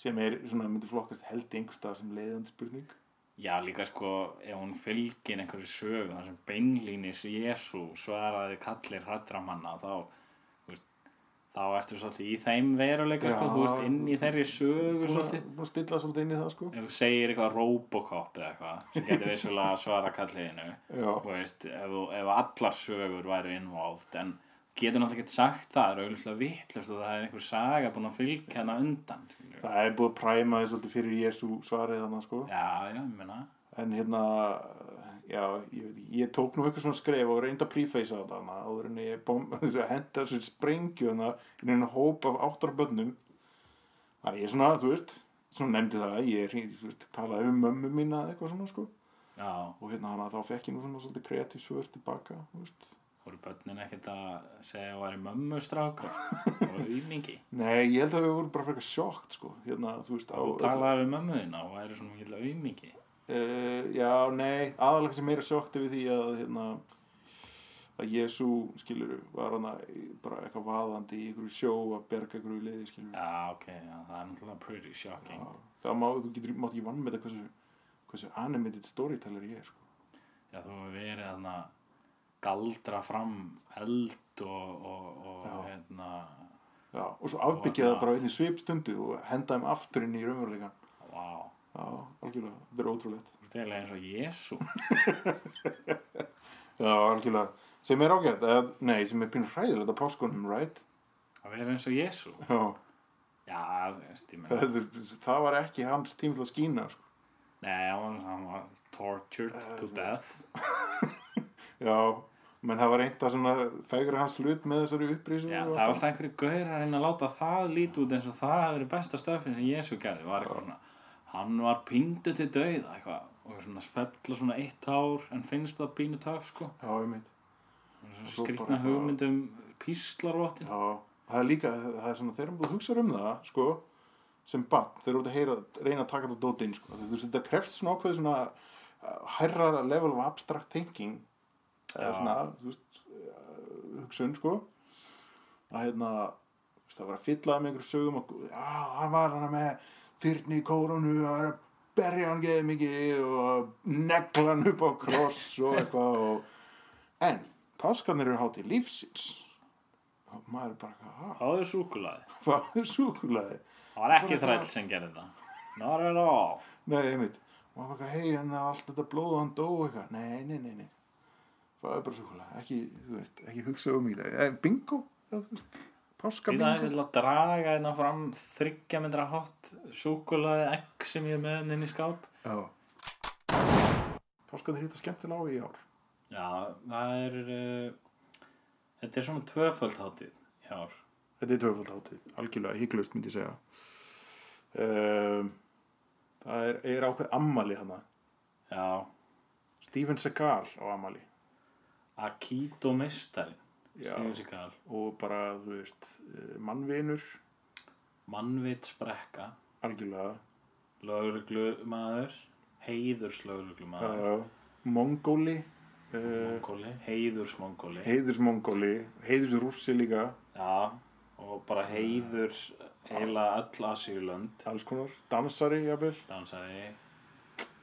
Speaker 1: sem er svona myndi flokkast held einhverstað sem leiðandi spurning
Speaker 2: Já, líka sko, ef hún fylgir einhverju sögu þar sem beinlínis Jésu svaraði kallir hrættra manna þá, þú veist, þá ertu svolítið í þeim veruleika sko,
Speaker 1: Já,
Speaker 2: þú veist, inn í
Speaker 1: þú-
Speaker 2: þeirri sögu
Speaker 1: Búin að-
Speaker 2: svolítið
Speaker 1: búin að stilla svolítið inn í það sko
Speaker 2: ef þú segir eitthvað Robocop eða eitthvað sem getur vissulega að svara kalliðinu
Speaker 1: Já.
Speaker 2: þú veist, ef, þú- ef allar sögur væri involved en getur náttúrulega ekki sagt það, það er auðvitað vitlust og það er einhver saga búin að fylgja hana undan skilur.
Speaker 1: það er búið að præma þið svolítið fyrir Jésu svarið þannig sko
Speaker 2: Já, já, ég meina
Speaker 1: en hérna já, ég, veit ekki, ég tók nú eitthvað svona skref og reynda að prefacea þetta hana áður en ég [LAUGHS] bom, henda þessu sprengju hana inn í hennar hóp af áttar bönnum þannig ég svona, þú veist svona nefndi það, ég hringdi, þú veist, talaði um mömmu mína eða eitthvað svona sko
Speaker 2: Já,
Speaker 1: og hérna hana, þá fekk ég nú svona svolítið kreatív svör tilbaka, þú veist
Speaker 2: voru börnin ekkert að segja að væri mömmustrákar og auðmingi
Speaker 1: nei, ég held að við vorum bara frekar sjokt sko, hérna, þú veist á
Speaker 2: þú
Speaker 1: öllu-
Speaker 2: talaði við mömmu þína og væri svona mikil auðmingi
Speaker 1: Uh, já, nei, aðalega sem meira sjókti við því að hérna, að Jésu, skilur var hana bara eitthvað vaðandi í einhverju sjó að berga einhverju liði, skilur
Speaker 2: já ok, já, það er náttúrulega pretty shocking já,
Speaker 1: það má, þú getur, mátt ekki vann með þetta hversu, hversu animated storyteller ég er, sko
Speaker 2: þú hefur verið þarna galdra fram eld og, og, og
Speaker 1: Já.
Speaker 2: hérna
Speaker 1: já, og svo afbyggja það
Speaker 2: Og-
Speaker 1: bara á einni svipstundu og henda þeim aftur inn í raunveruleikan
Speaker 2: wow,
Speaker 1: já, algjörlega, þetta er ótrúlegt
Speaker 2: þú veist eiginlega eins og Jésu
Speaker 1: já, algjörlega, sem er ágætt eða, nei, sem er pínu hræðilegt að páskunum, right?
Speaker 2: að vera eins og Jésu
Speaker 1: já, [LAUGHS]
Speaker 2: já, þú veist, ég meina
Speaker 1: það, það var ekki hans tími til að skína, sko
Speaker 2: nei, hann var, hann var tortured to death
Speaker 1: Já, menn hafa reynt að svona fegra hans hlut með þessari upprýsum
Speaker 2: Já, það var alltaf einhverju gauður að reyna að láta það líti út eins og það hafi verið besta stöfin sem Jésu gerði var eitthvað svona, hann var pingdu til dauða eitthvað og svona fella svona eitt ár en finnst það pínu töf sko
Speaker 1: Já, ég meit svo
Speaker 2: Svona
Speaker 1: bara
Speaker 2: skrýtna
Speaker 1: eitthvað-
Speaker 2: hugmyndum píslarvottin
Speaker 1: Já, það er líka, það er svona þegar þú hugsar um það, sko sem bann, þeir eru út að heyra, reyna að taka þetta dótinn, sko, þegar þú þetta krefst svona ákveð svona uh, hærra level of abstract thinking eða
Speaker 2: Já.
Speaker 1: svona, þú veist uh, hugsun, sko að hérna, þú veist, það var að fylla með einhverju sögum og, já, hann var hann með fyrrni í kórunu og var að berja hann geði mikið og negla hann upp á kross og eitthvað og en, páskarnir eru hátíð lífsins og maður er bara, hæ,
Speaker 2: áður súkulaði,
Speaker 1: hvað er súkulaði?
Speaker 2: það var ekki þræll sem gerði það not at all
Speaker 1: Nei, einmitt. Og hann bara, hei, hann er allt þetta blóð og hann dó og eitthvað. Nei, nei, nei, nei. Það er bara súkulega. Ekki, þú veist, ekki hugsa um í það. Eh, Bingo, eða þú veist, páska
Speaker 2: Því það er
Speaker 1: bingo.
Speaker 2: til að draga hérna fram þryggja myndra hot súkulaði egg sem ég er með henni í skáp
Speaker 1: Já. Páska þeir hýtta skemmtilega á í ár.
Speaker 2: Já, það er uh, þetta er svona tvöföld hátíð í ár
Speaker 1: Þetta er tvöfald hátíð. Algjörlega hygglust, myndi ég segja. Um, það er, er ákveð ammali hana.
Speaker 2: Já,
Speaker 1: Steven Seagal á ammali.
Speaker 2: Akito meistarinn
Speaker 1: Já.
Speaker 2: Steven Seagal
Speaker 1: Og bara, þú veist, eh, mannvinur,
Speaker 2: Mannvitsbrekka
Speaker 1: algjörlega.
Speaker 2: Lögreglumaður Heiðurslögreglumaður
Speaker 1: Uh, Mongóli. Uh,
Speaker 2: Mongóli Heiðursmongóli
Speaker 1: heiðursmongóli, heiðursrússi líka
Speaker 2: Já, og bara heiðurs heila öll Asíulönd
Speaker 1: alls konar, dansari jafnvel
Speaker 2: dansaði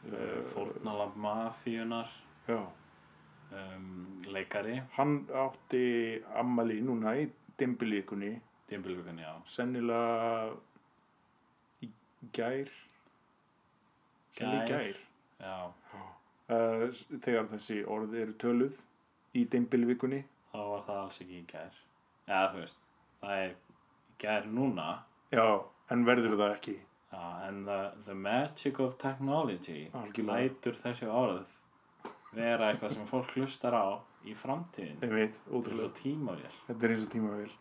Speaker 2: uh, fórnalamb mafíunar
Speaker 1: já,
Speaker 2: um, leikari
Speaker 1: hann átti ammali núna í dimbilíkunni
Speaker 2: dimbilvíkan, já
Speaker 1: sennilega í gær sennilega í
Speaker 2: Gær.
Speaker 1: gær
Speaker 2: Já,
Speaker 1: uh, þegar þessi orð eru töluð í dimbilíkunni
Speaker 2: þá var það alls ekki í gær Já, þú veist, það er í gær núna
Speaker 1: já, en verður það ekki
Speaker 2: Já, en Ah, the, the magic of technology
Speaker 1: Algjörlega.
Speaker 2: lætur þessi orð vera eitthvað sem fólk hlustar á í framtíðin
Speaker 1: einmitt,
Speaker 2: þessu
Speaker 1: ótrúlega,
Speaker 2: tímavél
Speaker 1: þetta er eins og tímavel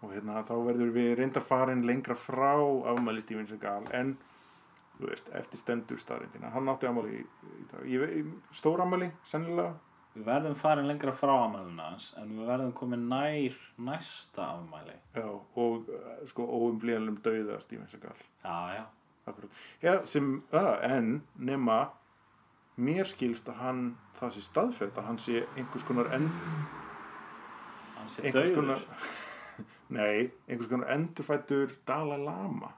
Speaker 1: og hérna þá verður við reyndar farin lengra frá afmæli Steven Seagal en þú veist, eftir stendur staðrindina hann átti afmæli í, í dag ég, ve- í, stór afmæli, sennilega
Speaker 2: við verðum farin lengra frá afmælinu hans en við verðum komin nær næsta afmæli
Speaker 1: Já, og eh, sko óumblíðanlum dauða Steven Seagal
Speaker 2: já, já,
Speaker 1: Akkurat. Já, sem, uh, en nema mér skilst að hann það sé staðfett að hann sé einhvers konar en,
Speaker 2: hann sé
Speaker 1: einhvers
Speaker 2: döður
Speaker 1: konar [LAUGHS] nei, einhvers konar endurfættur Dalai Lama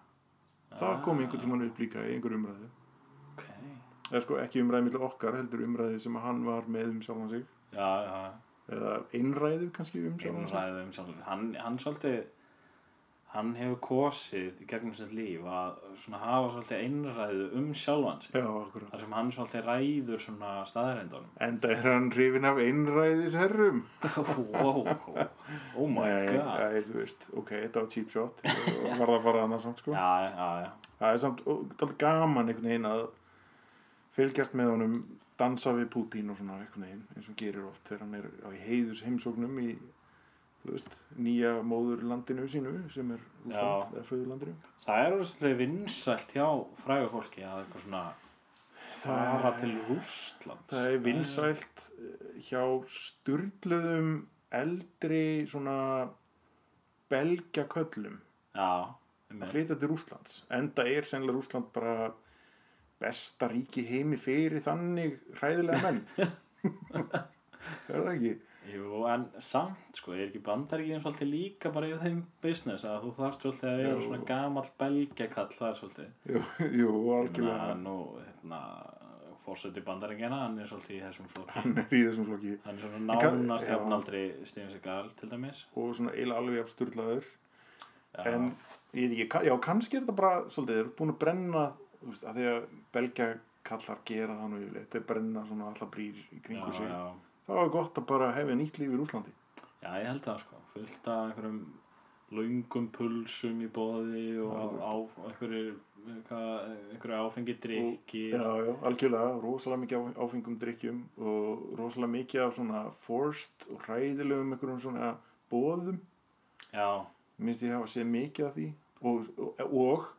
Speaker 1: það kom einhvern tímann upp líka í einhver umræðu
Speaker 2: ok,
Speaker 1: eða sko ekki umræðu millir okkar heldur umræðu sem að hann var með um sjálfan sig
Speaker 2: já, já
Speaker 1: eða einræðu kannski um sjálfan sig
Speaker 2: einræðu um sjálfan hann, hann svolítið hann hefur kosið í gegnum sitt líf að svona hafa svolítið einræðu um sjálfan sig
Speaker 1: já, akkurat
Speaker 2: þar sem hann svolítið ræður svona staðarindunum
Speaker 1: enda er hann hrifin af einræðisherrum
Speaker 2: wow, oh my god
Speaker 1: Nei, þú veist, ok, þetta var cheap shot og var það bara annað samt sko
Speaker 2: já, já, já,
Speaker 1: Það er samt alltaf gaman einhvern veginn að fylgjast með honum dansa við Putin og svona einhvern veginn eins og hann gerir oft þegar hann er á heiðus heimsóknum í þú veist, nýja móðurlandinu sínu sem er Úsland, eða föðurlandinu
Speaker 2: það er svolítið vinsælt hjá frægur fólki að eitthvað svona fara til Rústlands
Speaker 1: Það er vinsælt eh, hjá styrluðum eldri svona belgjaköllum
Speaker 2: já,
Speaker 1: að
Speaker 2: einmitt.
Speaker 1: flytja til Rúslands enda er sennilega Rúsland bara besta ríki í heimi fyrir þannig hræðilega
Speaker 2: [LAUGHS]
Speaker 1: menn það er það ekki
Speaker 2: Jú, en samt, sko, er ekki bandaríkjum svolítið líka bara í þeim business að þú þarft svolítið að vera
Speaker 1: Jú.
Speaker 2: svona gamall belgjakall, það er svolítið
Speaker 1: jú, jú
Speaker 2: Þannig
Speaker 1: algjörlega
Speaker 2: að nú, hérna, fórseti bandaríkjana, hann er svolítið í þessum flokki
Speaker 1: hann er í þessum flokki
Speaker 2: Hann er svona
Speaker 1: En kann-
Speaker 2: nánast
Speaker 1: já.
Speaker 2: jafnaldri Stefán Segal, til dæmis
Speaker 1: og svona eiginlega alveg afsturlaður
Speaker 2: Já,
Speaker 1: en ég veit ekki, ka- já kannski er þetta bara svolítið, þeir eru búin að brenna þú veist, að því að belgja kallar gera það nú yfirleitt, þeir brenna svona allar brýr í
Speaker 2: já,
Speaker 1: kringu sig,
Speaker 2: já,
Speaker 1: það var gott að bara hefja nýtt líf í Rúslandi
Speaker 2: já, ég held það, sko, fullt af einhverjum löngum pulsum í boði og á, einhverju, hvað, einhverju áfengi drikki
Speaker 1: Já, já, algjörlega, rosalega mikið á- áfengum drikkjum og rosalega mikið af svona forced og hræðilegum einhverjum svona bóðum
Speaker 2: já,
Speaker 1: minnst ég hafa séð mikið af því og, og, og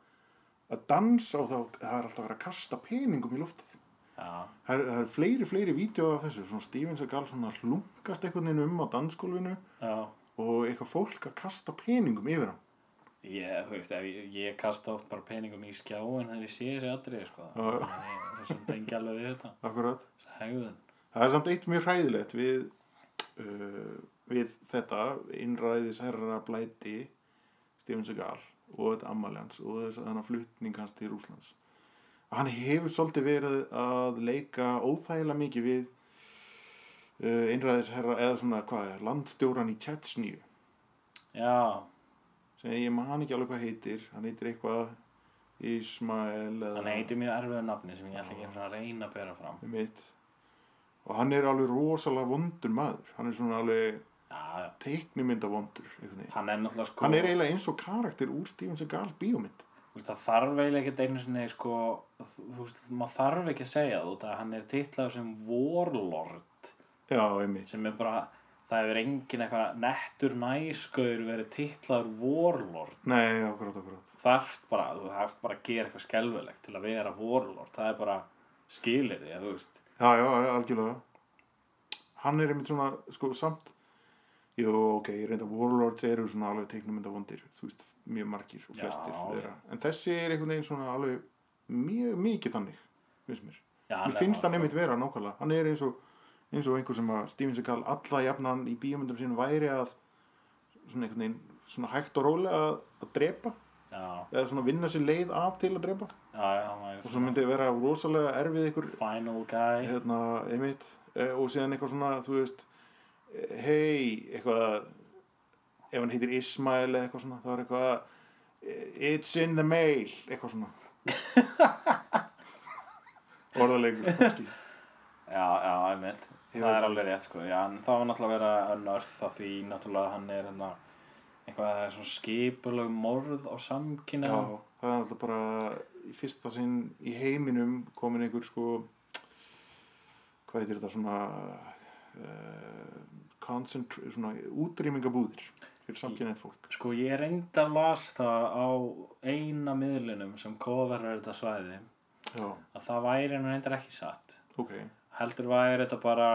Speaker 1: að dansa og þá það er alltaf verið að kasta peningum í loftið
Speaker 2: já,
Speaker 1: það er, það er fleiri, fleiri vídeo af þessu svona Stevens að gal svona hlunkast einhvern veginn um á dansgólfinu
Speaker 2: já.
Speaker 1: og eitthvað fólk að kasta peningum yfir hann
Speaker 2: Ég, þú veist, ef ég, ég kasta oft bara peningum í skjáin þegar ég sé þessi atrið, sko.
Speaker 1: já.
Speaker 2: Þessum tengi alveg við þetta,
Speaker 1: akkurat
Speaker 2: þessi hegðun.
Speaker 1: Það er samt eitt mjög hræðilegt við, uh, við þetta innræðis herra blæti Stefán Segal og þetta ammalans og þess að hann flutning hans til Rúslands. Hann hefur svolítið verið að leika óþægilega mikið við uh, innræðis herra eða svona hvað er, landstjóran í Tjetsníu
Speaker 2: Já,
Speaker 1: sem ég man ekki alveg hvað heitir, hann heitir eitthvað Ismael eða...
Speaker 2: hann heitir mjög erfiðu nafni sem ég ætla ekki einu sinni að reyna að bera fram.
Speaker 1: Mitt. Og hann er alveg rosalega vondur maður, hann er svona alveg
Speaker 2: Já, já.
Speaker 1: teiknumyndavondur einhvern veginn.
Speaker 2: Hann er náttúrulega, sko,
Speaker 1: hann er eiginlega eins og karakter úr Steven Seagal bíómynd
Speaker 2: þú veist, það þarf eiginlega ekkert einu sinni, sko, þú veist, maður þarf ekki að segja þú, það hann er titlað sem Warlord,
Speaker 1: já, einmitt
Speaker 2: sem er bara, það hefur engin eitthvað nettur næskaur verið titlaður Warlord.
Speaker 1: nei, akkurat, akkurat
Speaker 2: þarft bara, þú þarft bara að gera eitthvað skelfilegt til að vera vorlord, það er bara skilir því, þú veist
Speaker 1: já, já, algjörlega hann er einmitt svona, sko, samt jú, ok, ég reynda Warlords eru svona alveg teiknumyndavondir þú veist, mjög margir og
Speaker 2: Já,
Speaker 1: flestir
Speaker 2: já.
Speaker 1: þeirra. en þessi er einhvern veginn svona alveg mjög mikið þannig finnst mér,
Speaker 2: Já,
Speaker 1: mér
Speaker 2: nei,
Speaker 1: finnst
Speaker 2: hann-
Speaker 1: hann einmitt vera nákvæmlega, hann er eins og eins og einhver sem að Steven Seagal alla jafnan í bíómyndum sínum væri að svona einhvern veginn, svona hægt og rólega að, að drepa
Speaker 2: já,
Speaker 1: eða svona vinna sér leið af til að drepa og
Speaker 2: já, já, hann er
Speaker 1: svo
Speaker 2: svona
Speaker 1: myndi vera rosalega erfið ykkur
Speaker 2: final guy já,
Speaker 1: hérna, einmitt eh, og síðan eitthvað svona, þú veist eh, hei, eitthvað ef hann heitir Ismail eða eitthvað svona þá er eitthvað eh, it's in the mail, eitthvað svona [LAUGHS] orðalegur kannski
Speaker 2: já, einmitt
Speaker 1: Ég
Speaker 2: það
Speaker 1: veit
Speaker 2: er
Speaker 1: það.
Speaker 2: alveg rétt, sko, já, en það var náttúrulega að vera unnörð af því, náttúrulega hann er hérna, eitthvað, það er svona skipuleg morð á
Speaker 1: Já,
Speaker 2: samkynna
Speaker 1: það er alltaf bara í fyrsta sinn í heiminum komin einhver sko hvað heitir þetta svona uh, concentr svona útrýmingabúðir fyrir samkynætt fólk
Speaker 2: sko, ég reyndi að las það á eina miðlunum sem kofarar þetta svæði
Speaker 1: Já,
Speaker 2: að það væri hann reyndar ekki satt
Speaker 1: ok,
Speaker 2: heldur væri þetta bara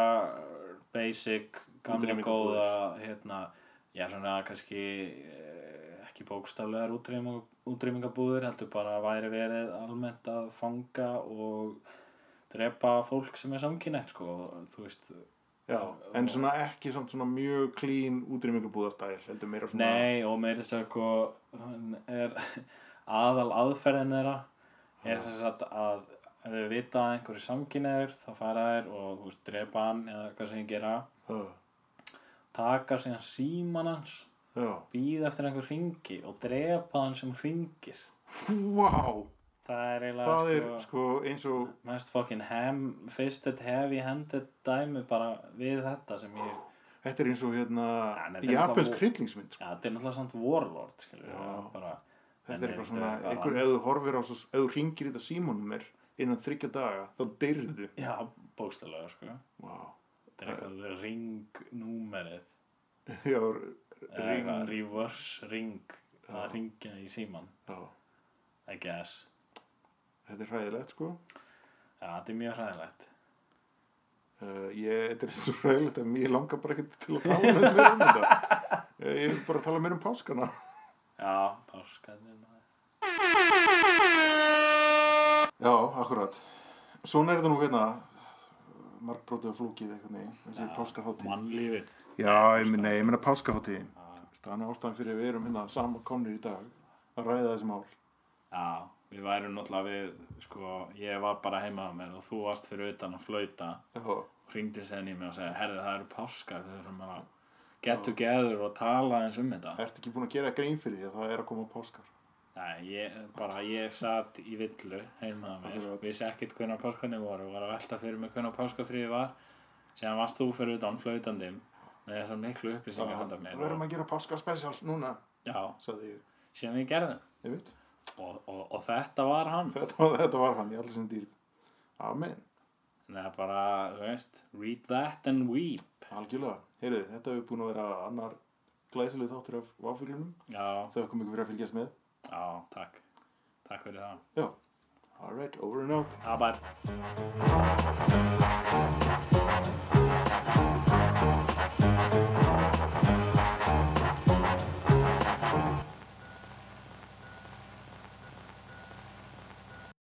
Speaker 2: basic, gamla
Speaker 1: Útrýmingar
Speaker 2: góða hérna, já svona kannski eh, ekki bókstaflegar útrýming, útrýmingabúður heldur bara að væri verið almennt að fanga og drepa fólk sem er samkynætt sko, og þú veist
Speaker 1: Já, en svona ekki samt svona mjög clean útrýmingabúðastæl, heldur meira svona
Speaker 2: Nei, og meira þess að sko hann er [LAUGHS] aðal aðferðin þeirra er þess að, að ef þau vita að einhverju samkynneður þá fara þær og þú veist, drepa hann eða hvað sem þau gera
Speaker 1: Uh,
Speaker 2: taka síðan síman hans
Speaker 1: Já,
Speaker 2: býða eftir einhver hringi og drepa hann sem hringir
Speaker 1: wow,
Speaker 2: það er eiginlega
Speaker 1: það er
Speaker 2: sko,
Speaker 1: sko eins og
Speaker 2: mest fucking ham fisted heavy handed dæmi bara við þetta sem ég
Speaker 1: Þetta er eins og hérna
Speaker 2: Ja, nei, þetta er
Speaker 1: Japans
Speaker 2: náttúrulega-
Speaker 1: hryllingsmynd sko.
Speaker 2: já, þetta er náttúrulega samt warlord skilur,
Speaker 1: Já.
Speaker 2: það er bara, en
Speaker 1: Þetta er eitthvað svona,
Speaker 2: eitthvað
Speaker 1: einhver,
Speaker 2: annað.
Speaker 1: ef þú horfir á svo, ef þú ringir í þetta símanumir innan þryggja daga, þá deyrðu
Speaker 2: já, bókstælega sko.
Speaker 1: wow.
Speaker 2: þetta er eitthvað ringnúmerið
Speaker 1: [LAUGHS] Já,
Speaker 2: eða eitthvað
Speaker 1: ring
Speaker 2: reverse ring að ringja í síman
Speaker 1: Já,
Speaker 2: I guess,
Speaker 1: Þetta er hræðilegt sko
Speaker 2: já, þetta er mjög hræðilegt
Speaker 1: uh, ég, Þetta er eins og hræðilegt en ég langar bara ekkert til að tala með mér um þetta Ég ég vil bara tala mér um páskana
Speaker 2: já, páskarnir maður.
Speaker 1: Já, akkurat Svona er þetta nú hérna margbrótið og flókið einhvern veginn þessi páskaháttíð
Speaker 2: mannlífið
Speaker 1: Já, ég minna, ég minna páskaháttíðin Þannig ástæðan fyrir að við erum hérna saman komnir í dag að ræða þessi mál
Speaker 2: Já, við værum náttúrulega við, sko, ég var bara heima á mér og þú varst fyrir utan að flauta
Speaker 1: Já,
Speaker 2: og ringdi sen í mig og sagði, herði það eru páskar, við þurfum að get together og tala eins um þetta.
Speaker 1: ertu ekki búin að gera grein fyrir því að það er að koma páskar
Speaker 2: Nei, ég, bara ég satt í villu heima á mér,
Speaker 1: Akkurat.
Speaker 2: vissi ekkit hvernig páskarnir voru og var að velta fyrir mig hvernig páskafríði var, síðan varst þú fyrir utan flautandi með þessar miklu upplýsingar handa mér.
Speaker 1: verðum
Speaker 2: Og,
Speaker 1: að gera páska spesial núna
Speaker 2: já,
Speaker 1: sagði ég,
Speaker 2: síðan við gerðum.
Speaker 1: ég veit
Speaker 2: Og, og, og þetta var hann.
Speaker 1: þetta, var- þetta var hann í allir sem dýrð Amen,
Speaker 2: Þannig að bara, þú veist, read that and weep.
Speaker 1: algjörlega Heyrðu, þetta hefur búin að vera annar glæsileg þáttur af váfuglunum
Speaker 2: Já.
Speaker 1: þau kom ykkur fyrir að fylgjast með
Speaker 2: Já, takk. Takk fyrir það.
Speaker 1: Já, alright, over and out
Speaker 2: Abar.
Speaker 6: Thank